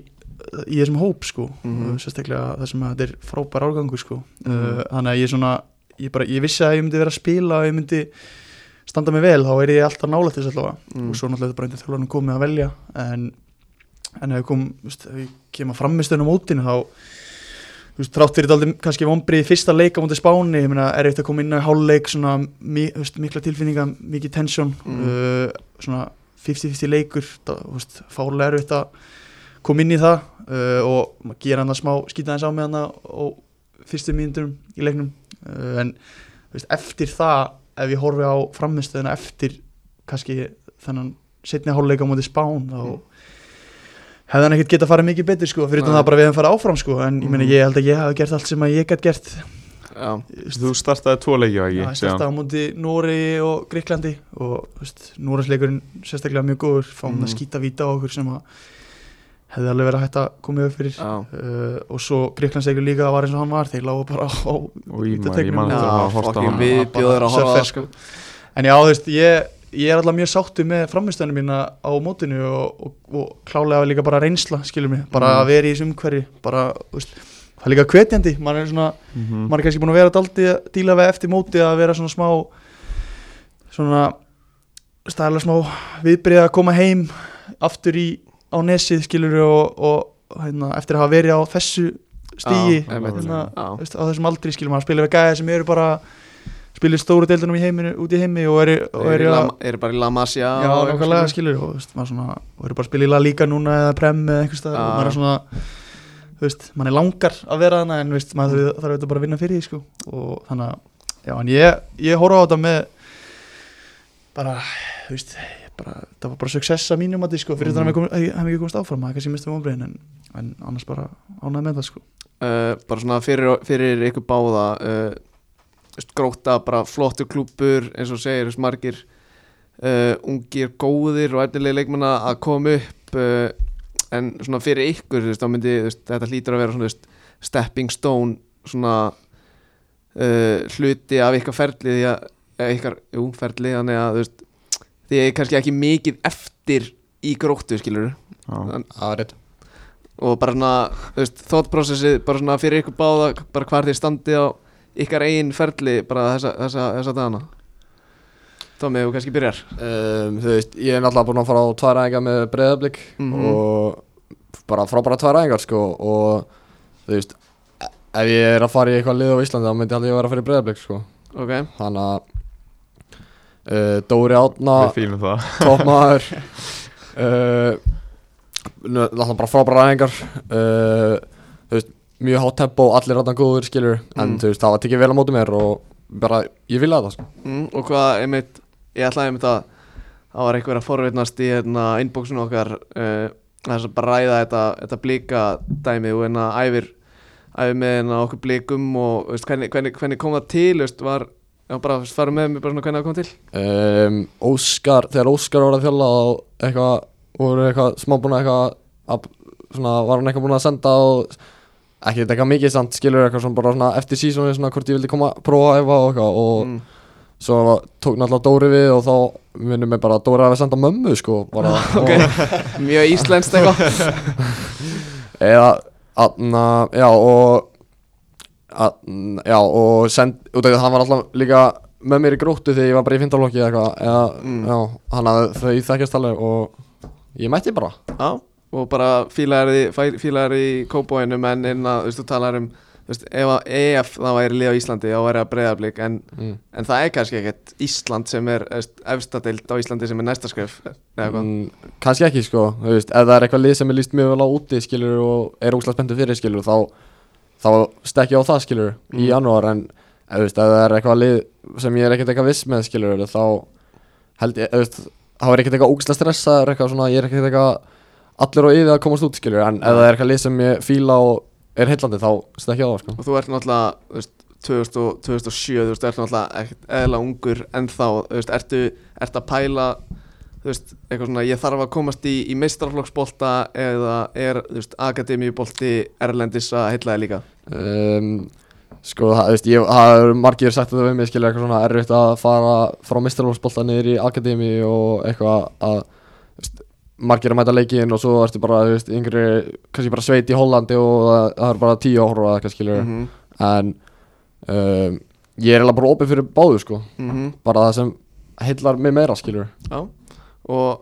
í þessum hóp sko,
Mhm.
uh, sérstaklega það sem að þetta er frábær árgangur sko,
Mhm.
uh, þannig að ég svona ég, bara, ég vissi að ég myndi vera að spila og ég myndi standa mig vel, þá er ég alltaf nálægt þess allavega
Mm.
og svo náttúrulega þetta bara einnig þjálfarnum komið að velja en, en ef ég kom, þú veist, ef ég kem að framistunum mótinu þá þú veist, þrátt fyrir þetta kannski vombrið í fyrsta leika mútið spáni, ég meina, er eitt að koma inn á háluleik svona, mi, þú veist, mikla tilfinninga mikið tensjón
Mm.
uh, svona 50-50 leikur það, þú veist, fárlega er eitt að koma inn í það uh, og maður gera hann að smá skýta hans á með hann og fyrstu mínundum í leiknum uh, en þú veist, eftir það ef ég horfi á framistöðuna eftir kannski þennan setni háluleika mútið spán
Mm.
þá hefði hann ekkert getað farið mikið betur sko, fyrir utan
Nei.
það bara við hann fara áfram sko, en ég meina
Mhm.
ég held að ég hafi gert allt sem að ég gætt gert
Já,
Þú startaði tvo leiki var
Já,
ekki
ég startaði á múti Nóri og Greiklandi og þú veist, Nóresleikurinn sérstaklega mjög góður, fáum
Mhm.
mm. að skýta víta á okkur sem að hefði alveg verið hægt að koma upp fyrir
já
uh, og svo Greiklandsleikur líka var eins og hann var, þeir lágu bara á
Og ég man, ég
vítateigninum.
man eftir að
Já,
hafa horft á
fucking
hann
við
Hann var
bjóður
bara
að horfa á það,
surfer, sko. En já, þú veist, ég, ég er alltaf mjög sáttu með framistöðinu mína á mótinu og, og, og klálega líka bara reynsla, skilur mig, bara
Mhm.
að vera í þessu umhverfi, bara, þú veist, það er líka hvetjandi, maður er svona
Mm.
Mhm.
maður er kannski búin að vera daldi að díla við eftir móti að vera svona smá svona stæla smá viðbyrja að koma heim aftur í á nesið skilur og, og hérna, eftir að hafa verið á þessu stígi
Já, einmitt.
hérna,
Já.
þú veist, á þessum aldri skilur maður spila við gæði sem eru bara spilur stóru deildunum í heiminu, út í heimi og eru, og
Þeir
eru að
eru bara í La Masia
Já,
og-
nákvæmlega skilur og þú veist, maður svona, og eru bara að spila í La Liga núna eða Prem eða einhvers
Já.
staðar og maður er svona, þú veist, maður er langar að vera hana en þú veist, maður þarf, þarf þetta bara að vinna fyrir því sko og þannig að, já, en ég, ég horfa á þetta með bara, þú veist, ég bara, það var bara success að mínum að því sko, fyrir
Mhm.
mm. þannig að ég hef ekki komist áfram, það er kannski mistum ombriðin en, en annars bara ánægð með það sko
uh, bara svona fyrir, fyrir ykkur báða uh, veist, gróta bara flottur klúpur eins og segir þess margir uh, ungir góðir og efnilega leikmanna að koma upp uh, en svona fyrir ykkur þú veist, þá myndi, þú veist, þetta hlýtur að vera svona þú veist, stepping stone svona uh, hluti af ykkar ferli því að eða ykkar, jú, ferli þannig að þú veist, því að ég er kannski ekki mikið eftir í gróttu skilur
Já.
Það er rétt
og bara svona, þú veist, thought processið bara svona fyrir ykkur báða, bara hvar þið standið á ykkar eigin ferli bara þessa, þessa, þessa dagana Tómi, þú kannski byrjar
um, Þú veist, ég er náttúrulega búinn að fara á tvær æfingar með breyðablík
Mhm.
og bara frábæra tvær æfingar sko og þú veist e- ef ég er að fara í eitthvað lið á Íslandi þá myndi ég alveg vera að fara í breyðablík sko
Ok,
þannig að uh, Dóri Átna
Við fýlum það
toppmaður uh, náttúrulega bara frábæra æfingar uh, þú veist, mjög hátt tempo allir áttan góður skilur en
Mm.
þú veist, það var tekið vel á móti mér og bara, ég vilja þetta sko.
mm, og hvað, einmitt, ég ætlaði einmitt að það var einhver að forvitnast í hérna, inboxinu okkar uh, þess að bara ræða þetta, þetta blika dæmi og hérna æfir æfir með hérna okkur blikum og þú veist, hvernig, hvernig, hvernig kom það til, þú veist, var já, bara fara með mér bara svona hvernig það kom til
um, Óskar, þegar Óskar var að þjálfa þá eitthvað, voru eitthvað smá búin að eitthvað að, svona, var hann eitthvað búin að senda og ekki þetta eitthvað mikið samt skilur eitthvað svona bara svona eftir sísónu svona hvort ég vildi koma að prófa að æfa og eitthvað og
Mm.
svo var- tók náttúrulega Dóri við og þá minnum mig bara að Dóri hafi senda mömmu sko bara, og,
Mjög íslenskt eitthvað
eða aðna, já og aðna, já og send, út af því að hann var alltaf líka með mér í gróttu þegar ég var bara í fyndarlokki eða eitthvað eða,
Mm.
já, hann að þau þekkjast alveg og ég mætti bara
Já, og bara fílar í, fæ- fílar í kóbóinum en inn að, þú veist, þú talar um þú veist, ef að EF það væri lið á Íslandi þá væri að breyðablík en,
mm.
en það er kannski ekkert Ísland sem er þú veist, efstadeild á Íslandi sem er næsta skref eða hvað
Mm, kannski ekki sko, þú veist, ef það er eitthvað lið sem er líst mjög vel á úti skilur og er ógslag spenntu fyrir skilur þá, þá stekki ég á það skilur í
Mm.
janúar en ef, þú veist, ef það er eitthvað lið sem ég er ekkert eitthvað viss með skilur þá held ég, ef, þú veist, þá er ekkert eitthvað ógslag stressaður eitthvað svona, ég er ekkert eitthvað allir og yfir að komast út skilur en ef það er eitthvað lið sem ég fíla og er heillandi þá stekki ég á það sko.
og þú ert náttúrulega, þú veist 2000 og- 2007, þú veist, ert náttúrulega ekkert eðla ungur en þá, þú veist, ertu ert að pæla, þú veist eitthvað svona, ég þarf að komast í, í meistarflokksbolta eða er, þú veist, akademíubolti erlendis að heilla þig líka
um, sko það, þú veist, ég, það eru margir sagt þetta við mig skilja eitthvað svona erfitt að fara frá mistarlófsbolta niður í akademi og eitthvað að þú veist, margir að mæta leikin og svo ertu bara þú veist, yngri, kannski bara sveit í Hollandi og það, það eru bara tíu áhra og eitthvað skilja
-hmm.
en um, ég er eiginlega bara opið fyrir báðu sko
Mm -hmm.
bara það sem heillar mig meira skilja
Já, og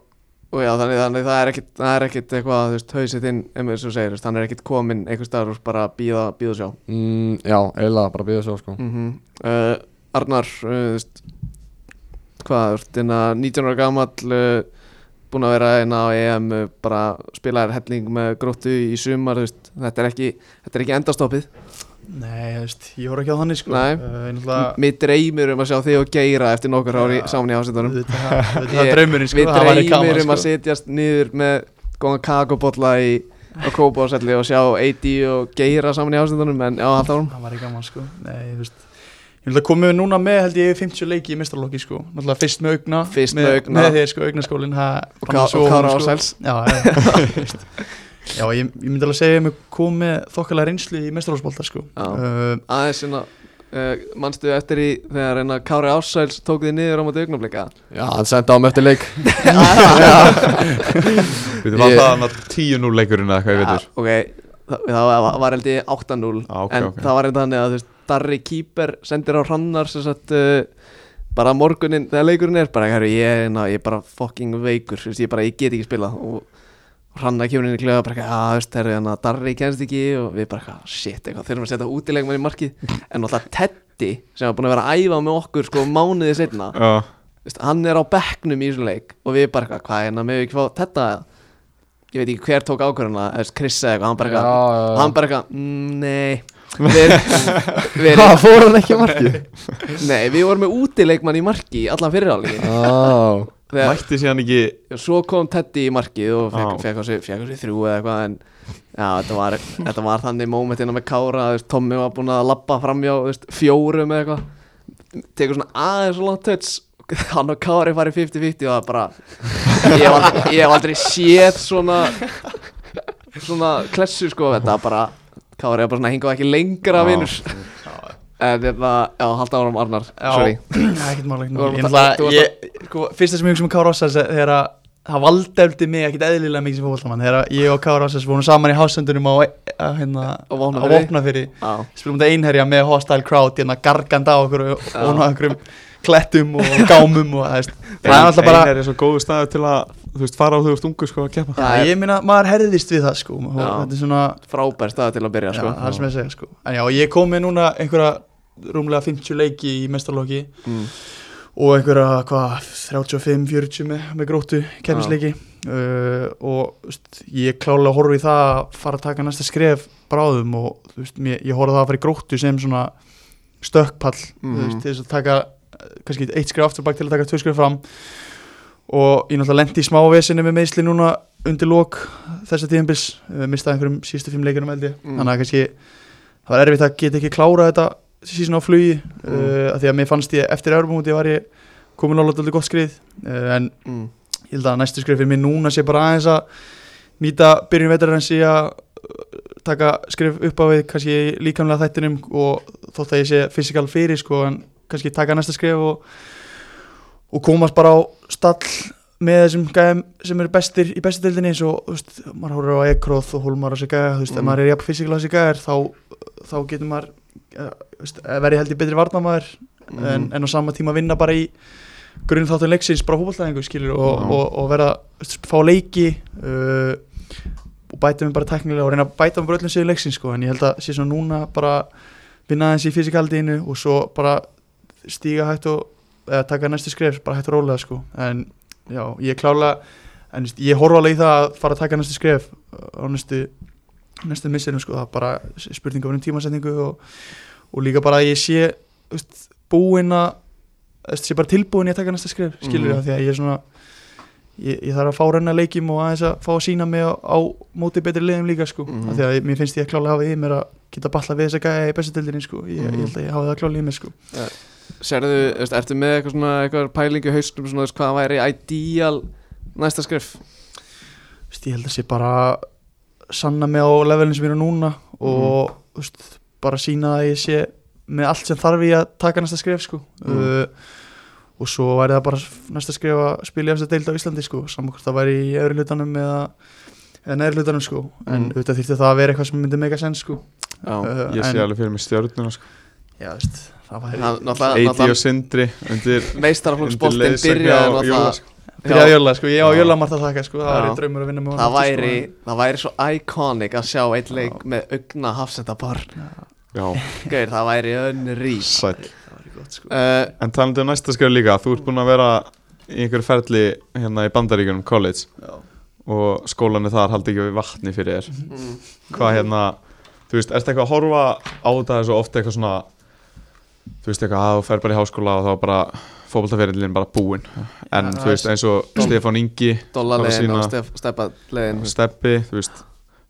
og já, þannig, þannig það er ekkit, það er ekkit eitthvað, þú veist, hausið þinn um eins og segir, þú veist, hann er ekkit kominn einhvers staðar og bara býða, býða og sjá
mm, Já, eiginlega bara býða svo sko
mm uh, Arnar, uh, þú veist hvað, þú veist, hérna 19 ára gamall uh, búin að vera hérna á EM uh, bara spilaðir helling með gróttu í sumar, þú veist, þetta er ekki þetta er ekki endastoppið,
Nei, þú veist, ég voru ekki á þannig sko
Nei.
uh,
M-
einhverja,
mig dreymir um að sjá þig og geira eftir nokkur ári
Ja.
saman í ásendunum *laughs*
Það
Ég-
er draumurinn sko
Við
það væri
dreymir
gaman,
um að
sko.
setjast niður með góðan kakobolla í á kópáselli og sjá Eiti og Geira saman í ásendunum en já, halda árum
Það væri gaman sko Nei, þú veist Ég vil að komum við núna með held ég 50 leiki í mestralokki sko Náttúrulega fyrst með augna
Fyrst
með,
með Augna.
Með þér sko, augnaskólin
og, ká, og Kára Ásæls
sko. Já, já,
*laughs*
já, þú veist. já ég, ég myndi alveg segja að ég kom með þokkalega reynslu í mestralóksbólta sko
Já.
uh,
aðeins svona uh, manstu eftir í þegar reyna Kári Ársæls tók þið niður á móti augnablika
Já, hann sendi á mig eftir leik
Við var
Ég-
það hann að 10-0 leikurinn eða hvað ég veitur
ok, það, það var held ég 8-0
Ah, ok,
en
ok.
það var held þannig að þú veist Darri Kýper sendir á hrannar sem sagt uh, bara morgunin þegar leikurinn er bara hæru ég, ná, ég er bara fucking veikur þú veist, ég bara ég get ekki spila og hrannar kemur inn í klefa bara eitthvað, að þú veist herru, hérna, Darri kennst ekki og við bara eitthvað, shit eitthvað þurfum að setja útilegum í markið en alltaf Teddy sem var búin að vera að æfa með okkur sko mánuði setna
Já,
Vist, hann er á bekknum í þessum leik og við bara eitthvað, hvað er hérna, með ekki fá þetta ég veit ekki hver tók ákvörðuna eða Chris eða eitthvað, hann bara eitthvað
já,
hann
*laughs*
bara eitthvað, "Mm, nei við, við,
Hvað, fór hann ekki á markið? *laughs*
nei, við vorum með útileikmann í marki í allan fyrirháleikin
Já,
þegar
mætti síðan ekki
svo kom Teddy í markið og
Á.
fekk á sig fekk á sig þrjú eða eitthvað en já, þetta var, þetta var þannig mómentina með Kára þú veist, Tommi var búin að labba framjá þú veist, fjórum eða eitthvað tekur svona aðeins og langt töts hann og Kári farið 50-50 og það bara ég hef aldrei, ég hef aldrei séð svona svona klessu sko þetta bara Kári er bara svona hingað ekki lengra
Já.
vinnur en þetta, já, halda áram Arnar
Já,
sorry
*clears throat* Nei, ekkert mála, ekkert
Þú varst að-
mála Ég
þú varst að-
náttúrulega, ég, sko, fyrsta sem ég hugsa um Kára Ássars er þegar að það valdeldi mig ekkert eðlilega mikið sem fótboltamann þegar að ég og Kára Ássars vorum saman í hásendunum á, á, hérna,
Á Vopnafirði.
Vopnafirði.
já,
spilum þetta einherja með hostile crowd hérna gargand á okkur og og hún á einhverjum klettum og gámum og það veist það er alltaf bara
Einar er svo góðu staður til að Þú veist, fara á þau úr stungu sko að keppa
það er-
ég minna maður herðist við það sko og
Já.
þetta er svona
frábær stað til að byrja
já,
sko
það er sem ég segja sko en já ég kom með núna einhverja rúmlega 50 leiki í mestarlóki
Mm.
og einhverja hvað 35-40 með, með gróttu kemmisleiki uh, og þú veist, ég klálega horfi í það að fara að taka næsta skref bráðum og þú veist, mér, ég horfi á það að fara í gróttu sem svona stökkpall mm
Mhm.
veist, til þess að taka eh, kannski eitt skref aftur bak til að taka tvö skref fram og ég náttúrulega lendi í smávesinu með meðsli núna undir lok þessa tíðanbils mistaði einhverjum sístu fimm leikunum held ég
Mm.
þannig að kannski það var erfitt að geta ekki klárað þetta síðan á flugi mm.
Mm.
uh, af því að mér fannst ég eftir Europamóti var ég komin alveg alveg gott skrið uh, en
mm.
ég held að næstu skrið fyrir mér núna sé bara aðeins að nýta byrjun vetarins í að uh, taka skrif upp á við kannski í líkamlega þættinum og þótt að ég sé fysikal fyrir sko en kannski taka næsta skrif og, og komast bara á stall með þessum gæðum sem eru bestir í bestu deildinni eins og þú veist, maður horfir á Ekroð og Holmar og þessi gæða, þú veist, ef
Mm.
maður er jafn fysikal að þessi gæðar þá, þá getur maður eh, þú veist, verið held ég betri varnamaður en, en á sama tíma vinna bara í grunn þáttun leiksins bara fótballtæðingu skilur og,
Já.
og, og verða veist, fá leiki uh, og bæta mig bara teknilega og reyna að bæta mig bara öllum sér leiksins sko en ég held að sé svona núna bara vinna aðeins í fysikaldiðinu og svo bara stíga hægt og eða taka næstu skref bara hægt og rólega sko en já, ég klála en þú veist, ég horfa alveg í það að fara að taka næstu skref uh, á næstu næstu missinum sko, það er bara spurningum um tímasetningu og, og líka bara að ég sé þú veist, búin að þú veist, sé bara tilbúin í að taka næsta skref skilur
Mhm.
það því að ég er svona ég, ég þarf að fá renna leikjum og aðeins að fá að sína mig á, á móti betri liðum líka sko, mm
Mhm.
því að ég- mér finnst ég að klála hafa í mér að geta balla við þessa gæja í bestutildinni sko, ég, ég
Mhm.
held að ég hafa það klála í mér sko
Serðu, þú veist, ertu með eitthvað svona eitthvað pælingu haustum svona, þú veist, hvað væri ideal næsta skrif?
Vist, ég held að sé bara sanna mig á levelin sem ég er á núna og mm. vist, bara sína að ég sé með allt sem þarf ég að taka næsta skref sko.
Mm.
uh, og svo væri það bara næsta skref að spila í eftir deild á Íslandi sko. saman hvort það væri í öðru hlutanum eða, eða neðri hlutanum sko. en
Mm.
auðvitað þýtti það að vera eitthvað sem myndi mega sens sko.
Já,
uh,
Ég sé
en,
alveg fyrir mig stjörnuna sko
já, vist, það væri
það náttúrulega,
Eiti og
náttúrulega
Sindri Eh, undir
meistaraflokksboltinn
undir leiðsögn
byrjaði
hjá Jónas.
náttúrulega
Fyrir
Já.
að jölla, sko, ég á
Já.
jölla margt að þakka, sko, það
Já.
væri draumur að vinna með
Það
honum sko, aftur,
væri,
sko.
það væri svo iconic að sjá einn leik með augna hafsendapar
Já,
Gauir, það væri önri
sæll
sko. Það væri gott, sko.
uh,
En talandi um næsta skrif líka, þú ert búin að vera í einhverju ferli hérna í bandaríkunum, college
Já.
og skólanir þar haldi ekki við vatni fyrir þér
Mhm.
Hvað hérna, þú veist, ertu eitthvað að horfa á þetta svo ofta eitthvað svona Þú veist eitthvað að þú fer bara í háskóla og þá er bara fótboltaferillin bara búinn En
Já,
þú veist eins og Stefán Ingi,
Dólarlegin
Bara
og
sýna-
stef, stefallegin
Steppi, þú veist,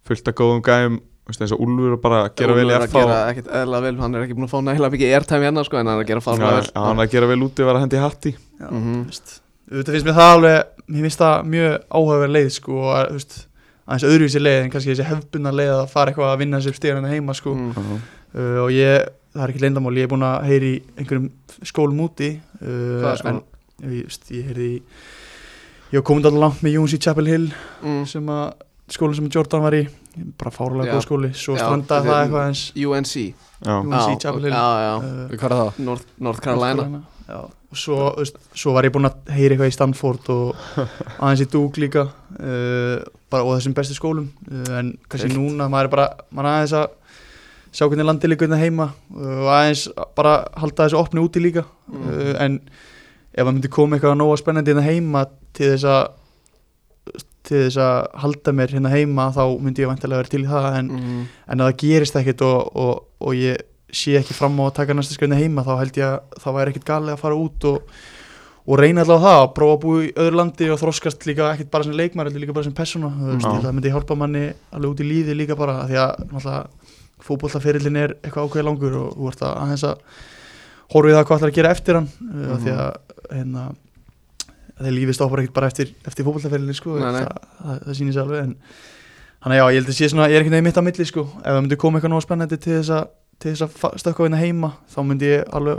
fullt af góðum gæm Þú veist eins og Úlfur og bara gera vel í
að
FH
gera ekkert eðla vel Hann er ekki búin að fá nægilega mikið airtime hérna sko En hann er að gera
Já,
fárlega vel
Hann er að gera vel úti og vera að hendi hatti
Já,
Mhm.
þú veist, auðvitað finnst mér það alveg, mér finnst það mjög áhugaverð leið, sko, og að, þú veist, aðeins öðruvísi leið en kannski þessi hefbunna leið að fara eitthvað að vinna sér stíðan heima, sko,
Mm.
uh, og ég, það er ekki leindamál, ég er búin að heyri í einhverjum skólum úti uh,
Hvaða skóla?
en, ég, veist, ég heyrði í ég var komin alltaf langt með Jóns í Chapel Hill
Mm.
sem að skólinn sem Jordan var í bara fárulega
Já.
góð skóli, svo
Já, þetta
strandaði það
er-
eitthvað eins
UNC
Já,
Jú, UNC,
Já,
Chapel Hill.
já, já.
uh,
Hvað er það?
North, North Carolina
Já, og svo, þú veist, svo var ég búinn að heyra eitthvað í Stanford
*laughs*
og aðeins í Duke líka uh, bara, og þessum bestu skólum uh, en kannski
Keikt.
núna, maður er bara maður er aðeins að sjá hvernig landið líka hérna heima uh, og aðeins bara halda þessu opni úti líka
Mm.
uh, en ef maður myndi koma eitthvað nóga spennandi hérna heima til þess að til þess að halda mér hérna heima þá myndi ég vantilega vera til í það en
mm.
en að það gerist ekkert og, og, og ég sé ekki fram á að taka næsta skrifni heima þá held ég að það væri ekkert galið að fara út og, og reyna allavega það að prófa að búa í öðru landi og þroskast líka ekkert bara sem leikmar heldur líka bara sem persóna þú
Já.
veist, ég held að það myndi hjálpa manni alveg út í lífi líka bara af því að náttúrulega fótbollaferillin er eitthvað ákveði langur og þú ert að aðeins að horfið það hvað ætlar að gera eftir hann mm -hmm. af því að hérna, þeir lífið stoppar ekkert bara eftir, eftir fótbollaferillin sko,
Nei, nei.
Það, það, það sýnir sér alveg en Þannig að já, ég held að sé svona, ég er ekki nefnir mitt á milli sko Ef það myndi koma eitthvað nóg spennandi til þess að til þess að fa- stökkva vinna heima þá myndi ég alveg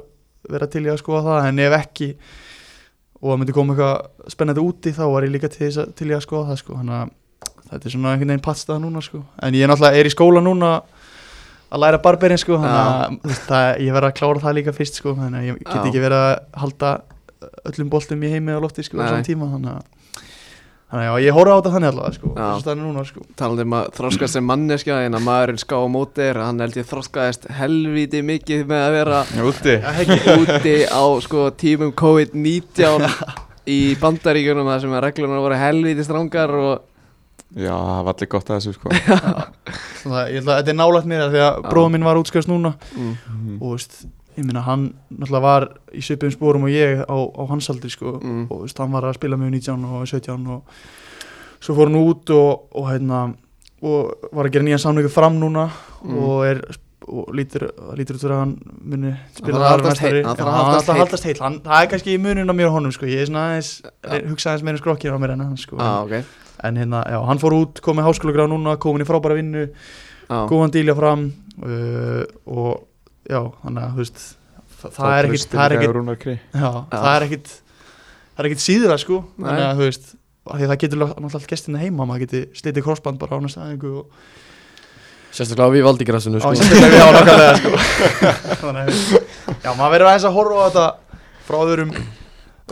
vera til í að skoða það en ef ekki og það myndi koma eitthvað spennandi úti þá var ég líka til, þess að, til í að skoða það sko þannig að þetta er svona einhvern veginn pattstað núna sko en ég er náttúrulega er í skóla núna að læra barberinn sko þannig að þú veist, það, ég verð að klára það líka fyrst sko þannig að ég get
Já.
ekki verið að halda öllum boltum í heimi á lofti sko á
Nei.
saman tíma þannig að þannig að já, ég horfa á þetta þannig allavega sko
Já.
þess að það er núna sko
talandi um að þroskast sem manneskja en að maðurinn ská á móti er að hann held ég þroskaðist helviti mikið með að vera
úti
úti á sko, tímum COVID-19 í bandaríkjunum það sem að reglunar voru helviti strangar og
Já, það var allir gott að *laughs* þessu sko
Svona, ég ætla að þetta er nálægt mér af því að bróða minn var útskjöfst núna
Mm.
Mhm.
og veist, ég minna hann náttúrulega var í svipum spórum og ég á, á hans aldri sko
Mm.
og veist, hann var að spila með 19 og 17 og svo fór hann út og, og hérna og var að gera nýjan samningu fram núna
Mm.
og er og lítur, lítur út fyrir að hann muni
þarf
spila
að
aðra
haldast
næstari.
heill, hann
Já,
þarf að
hann
haldast
þarf að
heill.
haldast heill hann, það er kannski í munin á mér og honum sko. ég er svona aðeins, hugsa aðeins meira um skrokkir á mér en hann sko.
á, Ah, ok
en hérna, já, hann fór út, komið háskólagrá núna komin í frábæra vinnu
á,
góðan dílja fram uh, og já, þannig að þú veist þa- það er ekkit það er ekkit,
ekki
já, það er ekkit það er ekkit síðra sko
Nei.
þannig að þú veist, af því að það getur lá- náttúrulega allt gestina heima, maður geti slitið krossband bara á næsta aðingu og
Sérstaklega við valdigrassinu
á
sko.
sérstaklega við á nákvæmlega sko *laughs* þannig að þú veist, já, maður verður aðeins að horfa á þetta frá öðrum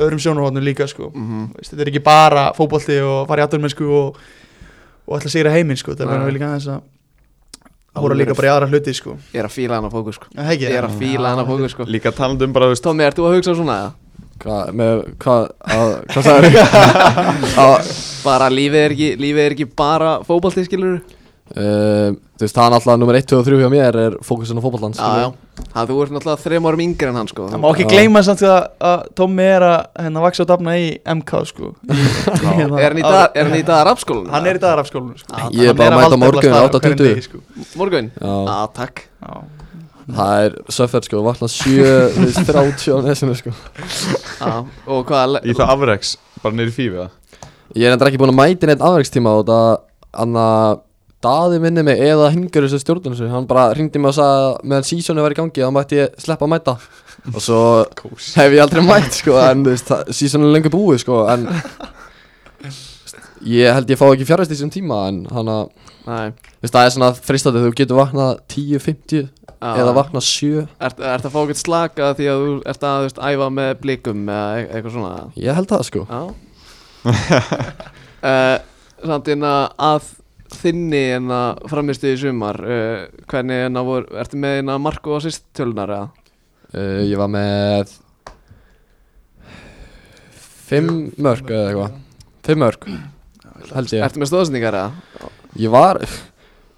öðrum sjónarhóðnum líka sko
mhm,
Þú veist, þetta er ekki bara fótbolti og fara í aturmennsku og, og ætla að sigra heiminn sko, það verður
Nei.
við líka aðeins að hóra líka bara í aðra hluti sko
ég er að fíla hann á fókus sko
Já, það ekki,
ég er að fíla hann á fókus sko
Líka talandi um bara, þú veist,
Tómi, ert þú að hugsa svona eða?
Hvað, með, hvað, að, hvað sagði þau?
*laughs* bara lífið er ekki, lífið er ekki bara fótbolti skilur
eh, Þú veist, það er náttúrulega nummer 1, 2 og 3 hjá mér er fókusin á fótballans
já, já, það þú ert náttúrulega þrem árum yngri en hann sko
Ah, Það má ekki gleyma samt að, að Tommi er að hérna vaksa og dafna í MK
*laughs*
sko í, hérna,
er hann í dag, er hann í dag að rapskólan?
Hann er í dag af skólanum sko
Já,
Ég er
Hann
bara að mæta á
valda
morgun
alla staði á hverjum
8:20.
degi, sko.
morgun?
já
að takk
Já.
Það er söffer sko, vakna 7, þú veist, 30 á nesinu sko
Já, og hvað
í það afreiks, bara neyri fífið það
Ég er enda ekki búin að mæti neitt afverkstíma og það Anna Daði minni mig eða hingur þessu stjórnum sem hann bara hringdi mig og sagði að meðan sísónu var í gangi þá mætti ég sleppa að mæta og svo
Kós
hef ég aldrei mætt sko en þú veist, sísónu er lengur búið sko en *laughs* ég held ég fá ekki fjárhæst í þessum tíma en hann að
Nei,
þú veist, það er svona fristandi þú getur vaknað 10.50
já.
eða vaknað 7
Ert, ert að fá eitthvað slaka því að þú ert að þú veist, æfa með blikum eða e- eitthvað svona
*laughs* ég held það sko
Já, uh, Samt en að þinni en að framistu í sumar uh, Hvernig en að voru, ertu með en að Marko og sýst tölunar eða?
uh, Ég var með Fimm mörg eða eitthvað Fimm mörg Held ég
Ertu með stóðsendingar eða?
Ég var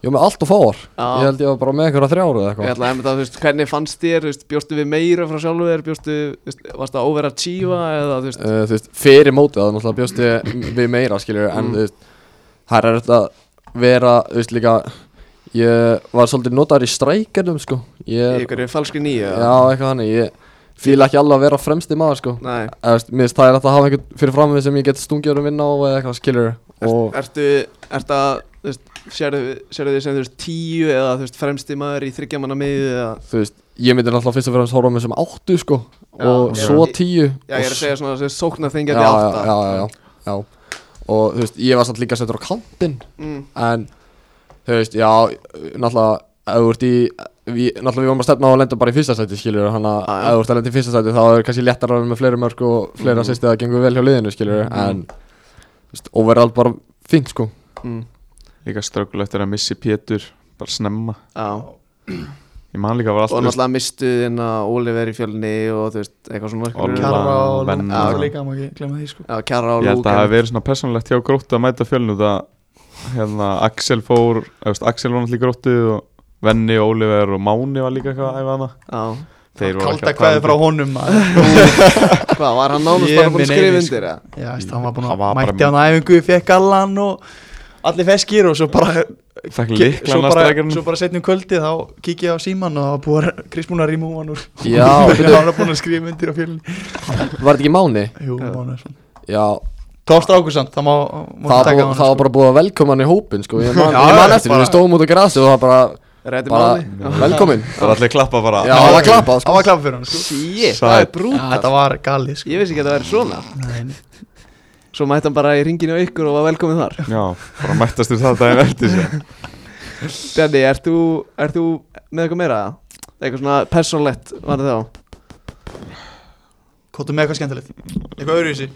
Ég var með allt og fáar
Já.
Ég held sko. ég var bara með einhverja þrjáru eða
Ég
eitthvað
ætla að þú veist, hvernig fannst þér, þú veist, bjóstu við meira frá sjálfu þér, bjóstu, þú veist, varst það over að tífa eða, þú veist,
uh, Þú veist, fyrir mótið Það náttúrulega bjóst ég við meira skiljur En
Mm.
þú veist Það er þetta vera Þú veist líka Ég var svolítið notaður í strækernum sko
í
Ég
ykkur falskri nýju?
Já, eitthvað þannig Ég fíla ekki alveg að vera fremsti maður sko
Nei,
Eða, þú veist, Mér finnst það er hægt að hafa einhvern fyrir fram sem ég get stungið um vinna á eða eitthvað skilur og
og... ertu, ertu að, þú veist, sérðu sérðu þið sem, þú veist, tíu eða, þú veist, fremsti maður í þryggjamanna miðið eða,
þú veist, ég myndi náttúrulega fyrst og fremst horfa á mig sem áttu sko
Já,
og
ok.
svo tíu
já, ég er að segja svona, þú veist, sóknar
já,
þengjandi
já,
átta.
já, já, já og þú veist, ég var samt líka settur á kantinn
Mm,
en þú veist, já, náttúrulega ef þú ert í, við, náttúrulega við varum að stefna á að lenda bara í fyrsta sæti skilur hann að
Já, Mhm. já.
ef þú ert að lenda í fyrsta sæti þá er kannski léttar að vera með fleiri mörg og fleira mm. sýsti að gengur vel hjá liðinu skilur
Mhm.
en þú veist, overall bara fínt sko
mm,
Líka strögglu eftir að missi Pétur Bara snemma
já,
Ég man líka var
og
alltaf
náttúrulega mistuð inn að Oliver í fjölni og, þú veist, eitthvað svona, skilurðu.
Olaf.
Kjarra og
Venn-
Lóna
Já.
líka, maður ekki glemma því sko
já, Kjarra og
Ég held að
Lúk,
það hafi verið svona persónulegt hjá gróttu að mæta fjölnu Það hérna Axel fór eða, veist, Axel var náttúrulega í gróttu og Venni, Oliver og Máni var líka eitthvað að æfa hana
já,
Þeir voru ekki að
Kalda
tala
kveði
um
frá
það.
honum maður.
*laughs*
hvað, var hann nánast
Ég
bara búin
minn
að skrifa
eini, sko.
undir, eða?
Já, veist, hann var búin
Hann
að
var bara
mætti hann æfingu, fekk allan og allir feskir og svo bara
Fekk
svo
líklan að
bara,
strækjum
svo bara setnum kvöldi þá kík ég á síman og það var búin að Krismúna ríma úr hann úr
Já,
*laughs* hann var búin að skrifa myndir á fjölni
var þetta ekki máni?
Jú, mánuð svona
Já,
Tófst ákursand, það má, má
það,
taka
búið,
hann sko.
það var bara búið að velkoma hann í hópin sko. ég man,
Já,
ég man
já,
eftir,
bara-
við stóðum út á grasi og það bara,
Rætti máli?
bara
Mm.
velkomin
Það var allir klappa bara
Já, það var klappa
Það
sko.
var klappa fyrir hann sko.
Shit,
Sæt.
það er brúta
Þetta var galið sko.
Ég vissi ekki að það væri svona
Nei, nei.
Svo mætti hann bara í ringinu á ykkur og var velkomin þar
Já, bara mættast við það daginn eftir sér
Bjarni, ert þú, ert þú með eitthvað meira? Eitthvað svona persónlegt var það þá
Kóttu með eitthvað skemmtilegt Eitthvað öðruvísi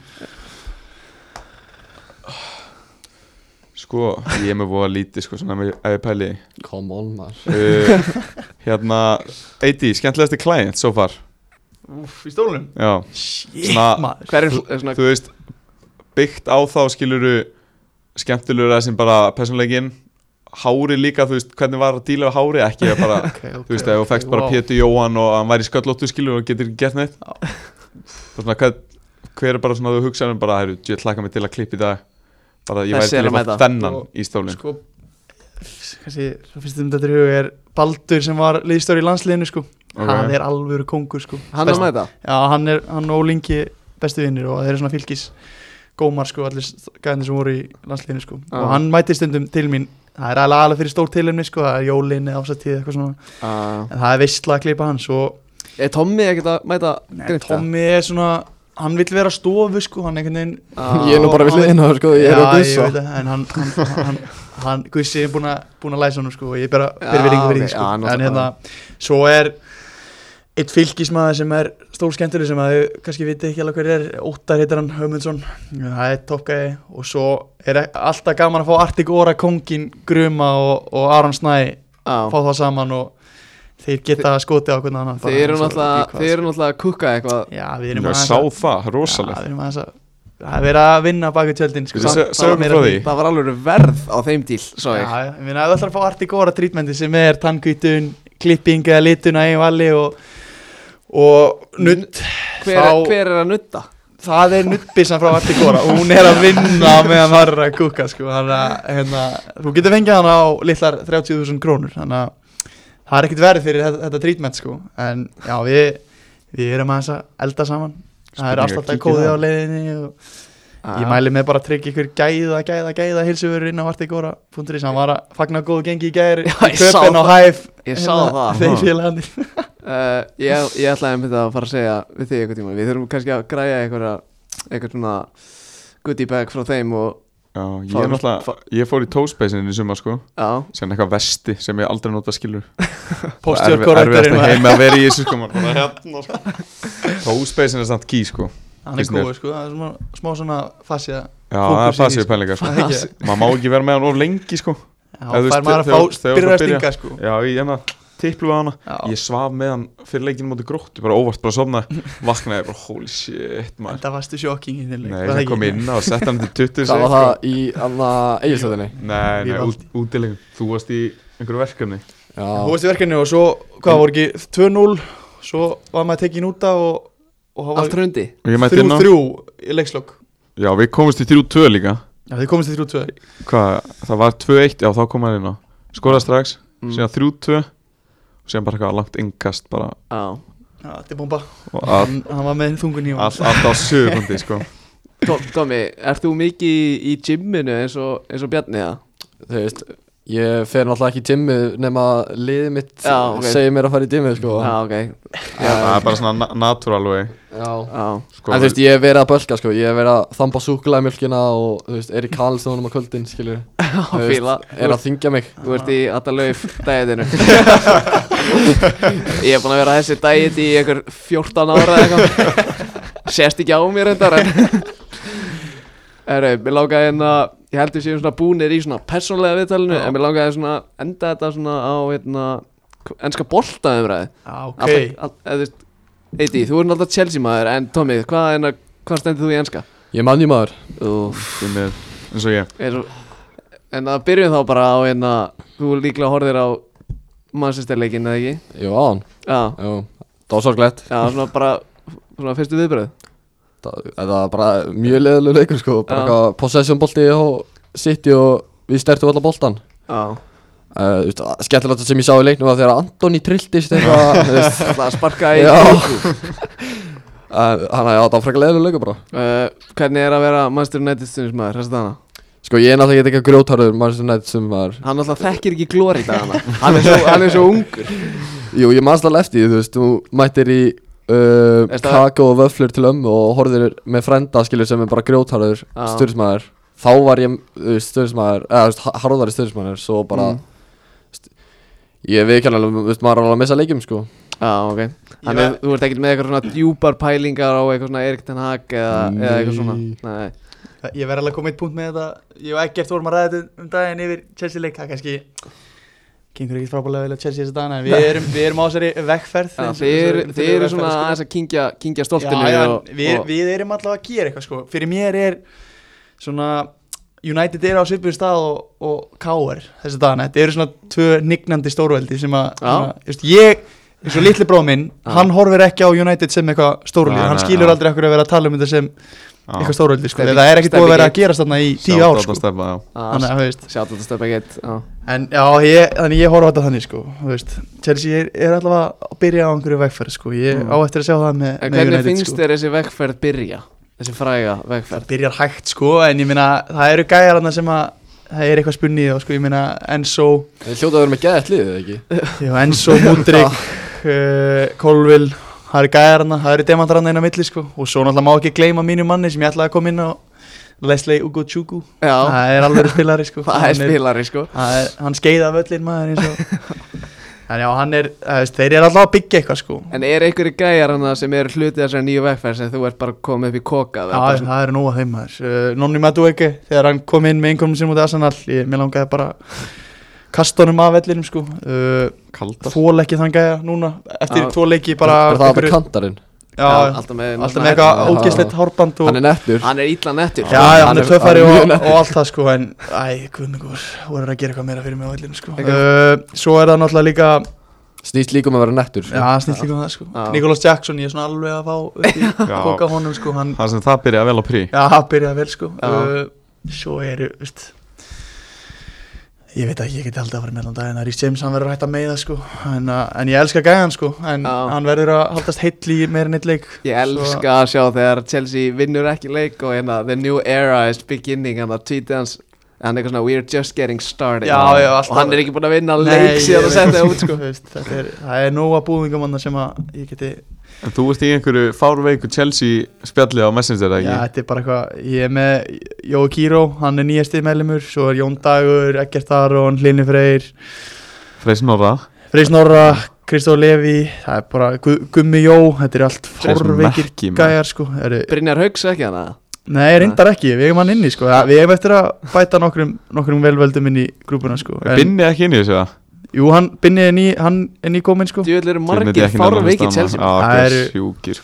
Sko, ég er með búið að líti sko svona ef ég- ef ég pæli í.
come on maður
uh, Hérna, Eiti, skemmtilegasti client so far
Úf, í stólunum
Já,
Shit,
Svona-
maður
Hver er er svona
þú veist byggt á þá skiluru skemmtilegur að sem bara persónleikin hári líka, þú veist, hvernig var að díla við hári, ekki að bara,
okay, okay,
þú veist, ef þú fekst bara Pétur Jóhann og hann væri í sköllóttu skilur og getur ekki gert neitt og svona, hver, hver er bara svona þú hugsaðum bara, herru, ég hlaka mig til að klippa í dag bara, ég væri
Þessi
til
er
að
að
fá
mæta.
þennan
Og-
í stólinn
Sko Kansi, svo finnst þið um þetta í huga er Baldur sem var liðstóri í landsliðinu sko Hann er alvöru kongur sko
Hann að
Best-
mæta?
Já, hann er, hann og Lingi bestu vinnir og þeir eru svona fylgis gómar sko, allir gæðinir sem voru í landsliðinu sko
Já.
Ah.
og hann mætti stundum til mín það er alveg alveg fyrir stór tilhemni sko það er jólin eða ásatið eitthvað svona
Uh,
Ah.
en það er veistla að klippa hans og
er Tommy ekkert að mæta?
Nei, Tommy er svona hann vill vera stofu sko, hann einhvern veginn
Uh,
*laughs*
ég er nú bara við hliðina sko, ég
Já,
er að gussa
ég veit það, en hann, hann, hann, hann, hann Guðsi er búin að, búin að læsa hann sko, og ég bara fyrir verið
Já, ok,
fyrir því sko.
já, náttúrulega.
en hérna, svo er eitt fylgismæður sem er stór skemmtileg sem að þau kannski viti ekki alveg hver er Óttar heitir hann Hömundsson það er toppgæði og svo er alltaf gaman að fá Artig Óra kongin Gruma og, og Aron Snæ fá
uh,
það saman og þeir geta skotið á hvernig annan bara
Þeir eru
eins og
náttúrulega
líkvað,
Þeir eru náttúrulega að kukka eitthvað
sko. já, við
ég
erum aðeins
sá það,
já,
rosalegt
við erum aðeins að það er verið að vinna baki tjöldin
Við
Það-
se-
það
sögum
meira
frá
því.
því
Það var alveg verð á þeim díl Svo ég
Já, já, ég meina að það ætlar að fá arti góra trítmendi sem er tannkvítun, klipping eða litun að einu valli og, og nutt,
hver,
þá-
hver er að nutta?
það er nuttbissan frá arti góra og hún er að vinna meðan það er að kúka sko, þannig að hérna, þú getur fengið hana á litlar 30.000 krónur, þannig að það er ekkert verið fyrir þetta, þetta trítment sko, en já, við, við erum aðeins að elda saman, það
Spurning
er
að
alltaf
kíkja
kóðið á
það.
leiðinni og Ég
Já.
mæli með bara að tryggja ykkur gæða, gæða, gæða hilsuveru inn á artigóra.is Hann var að fagna góðu gengi í gæri
Já, ég sá
Köpen á
það.
hæf
Ég sá það.
Hérna- *laughs* Þeir félagarnir
Uh, ég, ég ætlaði einmitt að fara að segja við þig einhvern tíma Við þurfum kannski að græja einhverja einhvern svona goodie bag frá þeim og
já, ég,
Fá-
er náttúrulega, ég fór í tóspæsinn í sumar sko,
já,
sem eitthvað vesti sem ég aldrei nota skilur
Postjör
Erfiðast
korrektorinn
að heima að vera í þessu sko maður *laughs* bara hérna sko Tóspacen er samt ký sko
Hann er góð sko, það er svona, smá svona fasið að
Já,
Fókus
það er
í því,
passið
sko.
pælingar sko.
Það er ekki-
Maður má ekki vera með hann of lengi sko
Já,
þú
fær
veist,
maður
þegar-
að fá
þegar þú
byrjar
byrjar-
að stinga sko
Já, ég hérna tipplu við hana
Já.
Ég svaf með hann fyrir leikinu móti gróttu Bara óvart, bara sofnaði Vaknaði bara, holy shit
En
maður
það varstu sjokking í þinn leik
Nei,
var það
það
ekki?
kom inn á og sett hann til 20
Það
sig,
var það í anna eiginstöðinni
sko. Nei, nei,
Ég var-
út, útilegum Þú varst í einhverju verkefni
Þú
Já,
veist í verkefni og svo, hvað voru ekki, 2-0 Svo var maður tekin út af og, og það
Allt
var
hrundi
Og ég mætti inn á
3-3 í leikslokk
Já, við komumst í 3-2 líka
Já, þið komist í 3-2
Hvað, það var 2-1 Já, þá kom hann inn á Skoraði strax,
Mm.
síðan 3-2 Og síðan bara eitthvað langt innkast bara
Já,
Já, þetta er bomba
Og all,
Hann hann var með þungun í honum.
all, allt á sögundi, sko
Tom- Tommy, ert þú mikið í- í gymminu eins og, eins og Bjarni það?
þú veist Ég fer náttúrulega ekki í timmið nema liðið mitt
Já, ok.
segir mér að fara í timmið sko
Já, ok
Það er bara svona na- natural way
Já.
Já,
sko,
En þú veist, ég hef verið að bölka sko, ég hef verið að þamba súkulæðmjölkina og þú veist, er í kalstónum á kvöldin, skilur
já
veist,
fíla
Er að þingja mig
Þú ert í Adalauf *laughs* dæðinu Ég er búin að vera þessi dæði í einhver 14 ára eða eitthvað Sérst ekki á mér þetta Herru, mér langaði hérna Ég held við séum svona búnir í svona persónlega viðtalinu En mér langaði svona að enda þetta svona á hérna Enska boltaumræði
Já, ok
okay. Eiti, þú ert náttúrulega Chelsea maður En Tommy, hvað, hérna, hvað stendur þú í enska?
Ég er mannjú maður
Úf,
Því miður, eins og ég
er, En að byrjum þá bara á hérna Þú líklega horfðir á Manchesterleikin eða ekki?
Jú, aðan,
Já,
jú, það var sorglegt
já, svona bara Svona fyrstu viðbröð
Það það var bara mjög leðileg leikur sko, bara
Já.
eitthvað possession bolti og City og við stertum allar boltan
Já,
Uh, þú veist, að- skemmtilegt sem ég sá í leiknum var þegar Antoni trilltist *laughs* eitthvað þú veist,
það sparkaði í
Já.
kóku
en hann hafði átt að frekar leiðilega leikur bara
uh, Hvernig er að vera Manchester United stundins maður, þessi dana?
sko ég er náttúrulega ekki eitthvað grjótarður maður sem nætt sem var
Hann alltaf þekkir ekki glóri dana hann, er svo, hann er svo ungur
Jú, ég manst alveg eftir, því, þú veist, þú mættir í uh,
Veist það-
kakó og vöflur til ömmu og horfðir með frenda, skilur, sem er bara grjótharður,
Já.
styrðismæður. Þá var ég, þú veist, styrðismæður, eða, þú veist, ha- harðari styrðismæður, svo bara,
Mm.
mm. ég veit ekki alveg, þú veist, maður er alveg að missa leikjum, sko.
Já, ok Þannig að
var-
þú ert ekkert með eitthvað svona djúpar pælingar á eitthvað svona Erik Ten Hag eða, eða eitthvað svona
Nei.
Nei,
Ég verð alveg að koma eitt punkt með þetta Ég og ekkert vorum að ræða þetta um daginn yfir Chelsea leik Það kannski Gengur ekkert frábælega vel að Chelsea þess að dana En við erum, við erum á þessari vegferð
Já,
eins og
Þið eru- þið
þessari- þessari
eru sko-
vegferð,
svona
skilur.
aðeins að kynkja, kynkja
já,
stoltinu
já,
og,
við,
og,
við erum allavega að gera eitthvað sko. fyrir mér er svona United er á svipuðu stað og, og KR þessi dagana, þetta eru svona tvö nignandi stórveldi sem að,
Já.
svona, just, ég eins og litli bróð minn,
Já.
hann horfir ekki á United sem eitthvað stórveldi,
Nei,
hann
nei,
skilur
já.
aldrei okkur að vera að tala um þetta sem
Já.
eitthvað stórveldi, sko,
Stemming-
það er ekkert búið að vera
stemming-
að gera þarna í tíu
Shout
ár,
out
sko
að Stebba, já.
að
þannig að, þú veist,
Sjátt Ah, að þetta stöpa ekkert Já,
en já, ég, þannig ég horfa á þetta þannig, sko, þú veist Chelsea er, er allavega að byrja á einhverju vegferð, sko, ég
Mm.
á eftir að sjá það með,
En
með
hvernig
United, sko.
finnst þér þessi vegferð byrja? Þessi fræga vegferð?
það byrjar hægt sko en ég meina það eru gæjar hann sem að það er eitthvað spunnið og sko ég meina Enzo,
Þið hljóta að vera með geðett liðið, eða ekki?
já, *laughs* Enzo Mudrik, uh, Colville það eru gæjar hann, það eru demantar hann einn á milli sko og svo náttúrulega má ekki gleyma mínu manni sem ég ætlaði að koma inn á Leslie Ugochukwu,
Já,
*laughs* það er alveg spilari sko
það er
Hann
spilari sko
það er, hann skeiða völlin maður eins og en já hann er, það veist, þeir eru alltaf að byggja eitthvað sko
En er einhverju gæjar hana sem eru hluti þessar nýju vegferð sem þú ert bara komið upp í koka
Já, það eru nóga þeim maður uh, Nonni Madueke, þegar hann kom inn með innkomnum sín mútið Arsenal, ég, mér langaði bara að kasta honum af vellinum sko uh,
Kaldar
Þól ekki þann gæja núna Eftir
Já.
tvo leiki
Bara,
bara
það að vera kantarinn.
já,
alltaf með,
Alltaf með eitthvað
Já.
ógeðslegt hárband og,
Hann er nettur.
Hann er illa nettur
Já, já, hann er töffari
hann er
og,
mjög
og allt það sko En, æ, guðmengur, voru að gera eitthvað meira fyrir mig á vellinum sko
Ekki.
uh, Svo er það náttúrulega líka
Snýst líka um að vera nettur,
Já,
sko.
hann snýtt líka um það sko
Já.
Nicholas Jackson, ég er svona alveg að fá upp í
Já.
Koka honum sko, hann
Það sem það byrjaði vel á prí
Já, það byrjaði vel sko
Já.
uh, Svo eru, veist Ég veit ekki, ég geti aldrei að vera með allan dag En Rhys James, hann verður hægt að meiða sko En, uh, en ég elska gæðan sko En
Já.
hann verður að haldast heill í meira en eitt leik
Ég elska að sjá þegar Chelsea vinnur ekki leik og hérna The new era is beginning hann að tweetið hans hann eitthvað svona we're just getting started
Já, já, alltaf.
og hann er ekki búin að vinna
Nei,
leik
ég
síðan að
veit.
setja
*laughs*
út sko
veist, þetta er, Það er nóga búðingamanna sem að ég geti
En þú ert í einhverju fárveiku Chelsea spjalli á Messenger, eða
Já,
ekki?
þetta er bara eitthvað Ég er með Jói Kíró, hann er nýjastið meðlumur Svo er Jón Dagur, Eggert Aron, Hlynni Freyr
Freyr Snorra
Freyr Snorra, Kristóf Levi Það er bara Gu- Gummi Jó, þetta er allt
Freyr sem
forveikir
merki, maður.
gæjar sko Það eru
Brynjar Haugs ekki hann að
Nei, reyndar ekki, við eigum hann inni sko Ja, Við eigum eftir að bæta nokkrum, nokkrum velveldum inn í grúpuna sko
En, Binni ekki inn í þessu það
Jú, hann, Binni er ný, hann er ný komin sko
Djöðl eru margir fárveiki Chelsea
Já,
Það
það er
eru-
sjúkir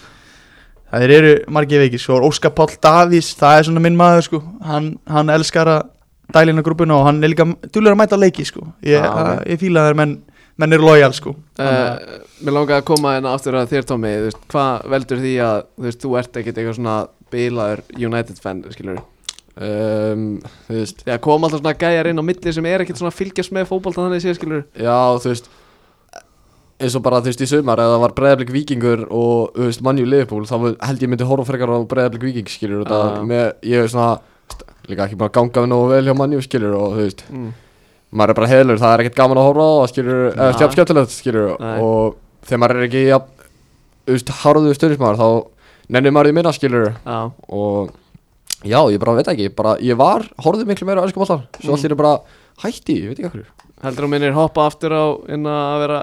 Það eru margir veikir sko Óskar Páll Davís, það er svona minn maður sko Hann, hann elskar að dælina grúpuna og hann er líka dúlur að mæta á leiki sko Ég,
Já,
ah,
ok.
ég fíla þeir menn, menn eru lojal sko Þannig að-
Uh, mér langaði að koma hérna aftur að þér Tommy þú veist, hvað veldur því að þú, veist, þú ert ekkert eitthvað svona bilaður United fan skilur
um, Þú veist
því að koma alltaf svona gæjar inn á milli sem er ekkert svona að fylgjast með fótbolta þannig séð skilur
Já, þú veist eins og bara þú veist í sumar eða það var breyðablik vikingur og þú veist mannjú liðbúl þá held ég myndi horfa frekar á breyðablik viking skilur þetta
Já.
með, ég er svona st- líka ekki bara gangað nógu vel hjá mannjú skilur og þú veist,
mm.
maður er bara heilur það er ekkert gaman að horfa á það skilur eða
Nei.
skjöp skjöptilegt skilur
Nei.
og þegar maður er ekki ja, þú veist, harðu stöðismar þá nennir maður því minna skilur
já,
og já, ég bara veit ekki, bara ég var horfði miklu meira á öskum alltaf, svo
Mm.
allir er bara hætti, ég veit ekki okkur
heldur þú minnir hoppa aftur á inn að vera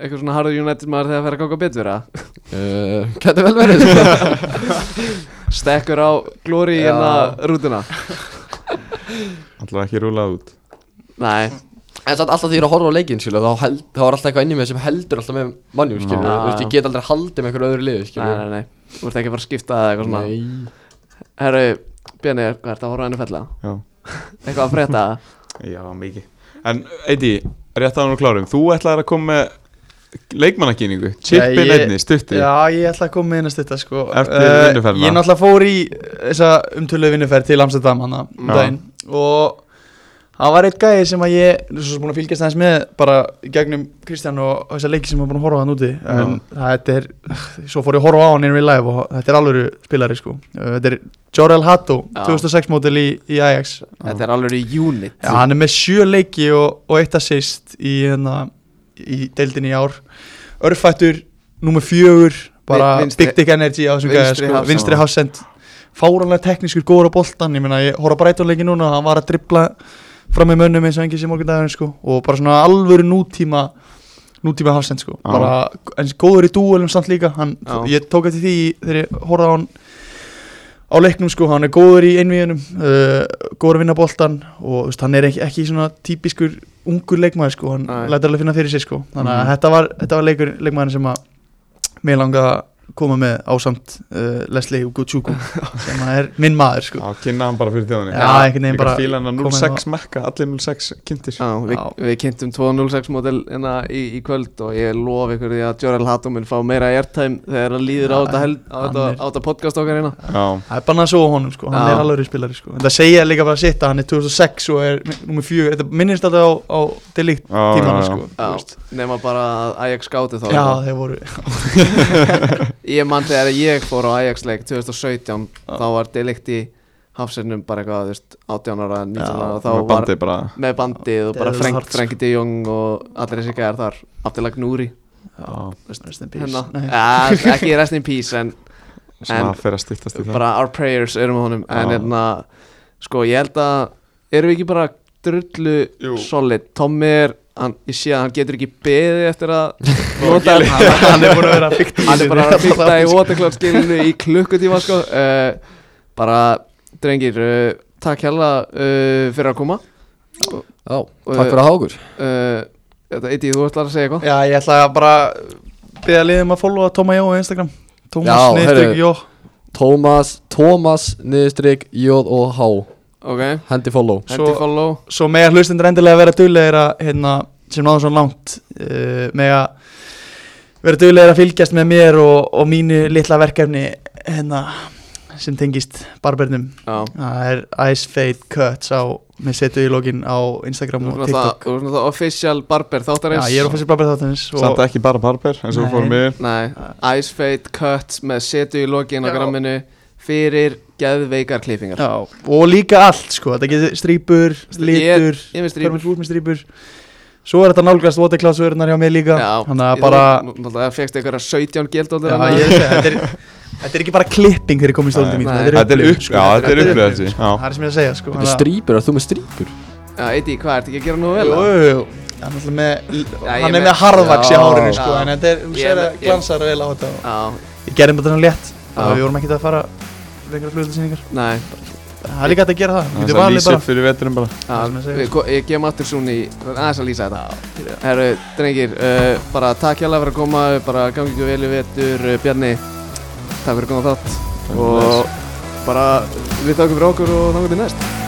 eitthvað svona harður United maður þegar það fer að ganga betur að
uh, Gæti vel verið sko.
*laughs* stekkur á glóri
Já.
inn að rútuna
Alltaf ekki rúlað út
nei,
En samt alltaf því ég er að horfa á leikinn skilur þá, held, þá er alltaf eitthvað inn í mig sem heldur alltaf með mannjum skilur
Já.
Þú veist, ég get aldrei haldið með einhverju öðru liði
nei,
skilur
nei, nei þú ert ekki að fara að skipta eða eitthvað svona
Nei
herru, Bjarni, hvað ert að horfa henni fella?
Já,
eitthvað að frétta?
já mikið En Eiti, rétt að hann og klárum Þú ætlaðir að koma með leikmannakynningu Chippin
ég-
einni, stutti
Já, ég ætla að koma með einast þetta sko
Eftir
Eh,
vinnuferðina.
Ég náttúrulega fór í þessa umtölu vinnuferð til Amsterdam hana um
Já.
daginn Og hann var eitt gæði sem að ég er Svo sem búin að fylgjast aðeins með bara í gegnum Kristján og og þessa leiki sem hann búin að horfa á hann úti En þetta er, svo fór ég að horfa á hann innum í live og þetta er alvöru spilari sko Eh, Þetta er Jorel Hato,
Já.
2006 mótil í, í Ajax
þetta er alveg í unit
Já, hann er með sjö leiki og, og eitt assist í, hérna, í deildinni í ár Örfættur, númer fjögur bara
Vi- vinstri-
big dick energy á þessum gæða
vinstri
sko,
hafsend.
vinstri hafsend fáranlega teknískur góður á boltan ég meina, ég horf á breytunleiki núna, hann var að dribla fram með mönnum eins og engi sem morgun dagurinn sko, og bara svona alvöru nútíma nútíma hafsend sko
Já.
bara, eins góður í dúelum samt líka hann,
Já.
ég tók eftir því í- þegar ég horfði á hann á leiknum sko, hann er góður í einvíðunum uh, góður að vinna boltan og þú veist, hann er ekki, ekki svona típiskur ungur leikmaður sko, hann
Nei.
lætur alveg finna fyrir sér sko þannig að
Mhm.
þetta var, þetta var leikur, leikmaður sem að mér langaði að koma með ásamt uh, Leslie Ugochukwu sem að er minn maður sko
Já, kynna hann bara fyrir þjóðinni
Já, einhvern veginn bara-
Fíla hann að
koma
06 mekka, allir 06 kynntir
Já, við,
Já.
við kynntum 206 mótel inna hérna í, í kvöld og ég lof ykkur því að Jorel Hattum mun fá meira airtime þegar hann líður á
Já,
þetta hel- á
hann
þetta-
er-
á þetta podcast okkar hérna
Já,
það er bara að svo á honum sko, hann
Já.
er alveg spilari sko en það segja líka bara sitt að hann er 2006 og er nummer fjögur, þetta minnist alltaf á, á delíkt
já, já,
tímana
já.
sko þú veist.
Já, nema bara að Ajax skáti þá
já, þeir voru
Ég mann þegar ég fór á Ajax leik 2017 þá var Delikt í hafsennum bara eitthvað, þú veist, 18 ára 19 ára
Já,
og þá
Með
var
bandið bara
með bandið og bara
Devil's
Frank,
Heart, sko.
Frank D. Jong og allir þessi gæðar þar Abdelag Núri
Já,
Rest in peace.
hérna,
Nei.
ja, ekki rest in peace en En-
svona fer að stýttast í það
bara our prayers erum á honum en
Já.
hérna, sko ég held að erum við ekki bara drullu
Jú.
solid, Tommy er hann, ég sé að hann getur ekki beðið eftir að nota
*laughs*
hann,
hann, hann er búin að vera að fykta
hann er bara að fyrta í watercloud-skilinu í klukkutíma
*laughs*
sko uh, bara, drengir uh, takk hella uh, fyrir að koma
Já, Eh, takk fyrir að hafa okkur
uh, þetta, Eiti, þú ætlar að segja eitthvað
Já, ég ætla að bara beða liðum að followa Tóma Jó á Instagram Tómas
Já,
Nýttur
heyrðu.
Jó
Tómas, Tómas, niðurstrik, jóð og há
ok,
Hendi follow
hendi
Svo-
follow
Svo mega hlustendur endilega vera duglegir að hérna, sem náður svo langt uh, mega vera duglegir að fylgjast með mér og, og mínu litla verkefni hérna, sem tengist barbernum
já
Það er Ice Fade Cuts á með setu í login á
Þú
Instagram
erum
og
það,
TikTok
þú erum það official barber
Já,
þáttarins
ég er á fyrst barber þáttanins
Samt ekki bara barber, eins og
Nei.
fórum við
Nei, Ice Fade Cuts með setu í lokin á
Já.
gramminu fyrir geðveikar klippingar
Já, og líka allt sko, þetta getur strípur, litur
Ég, ég með
Strípur.
strípur
Þú ert með strípur Svo er þetta nálgast Waterclass-vörunar hjá mig líka Þannig að
ég-
bara
þú- Náttúrulega fegst einhverja 17 gildóttir
já, ég, er að segja, þetta, er, þetta er ekki bara klipping þegar ég kom í stóldum
Nei.
mín
Þetta er
Þetta er
upplifun,
upp, já, þetta er upplöðið
sko. Það er sem ég er að segja sko
Þetta er strípur, er þú með strípur?
Já, Eiti, hvað ertu ekki að gera nú vel?
Jú,
eða?
jú, jú. Hann er með,
Já, ég
hann er
með-
með harðvaks í
Já.
hárinu sko
Já.
En þetta er, þú
Ég
sér
með-
að glansar vel á þetta og-
Já,
Ég gerði bara þetta svona létt
Já.
og Við vorum ekkert að fara lengra flugöldasýningar
Nei,
það er líka hægt að gera það,
Það
getur
er að
valið
lýsa
bara
upp fyrir veturum bara
Það
að,
sem ég segi.
við, ko- ég kem aftur svona í aðeins að lýsa
fyrir
þetta Herru, drengir, uh, bara takk hérlega fyrir að koma bara gangi ykkur vel í vetur, uh, Bjarni takk fyrir að koma á þátt
Takk
og bara við þakkum fyrir okkur og þangum til næst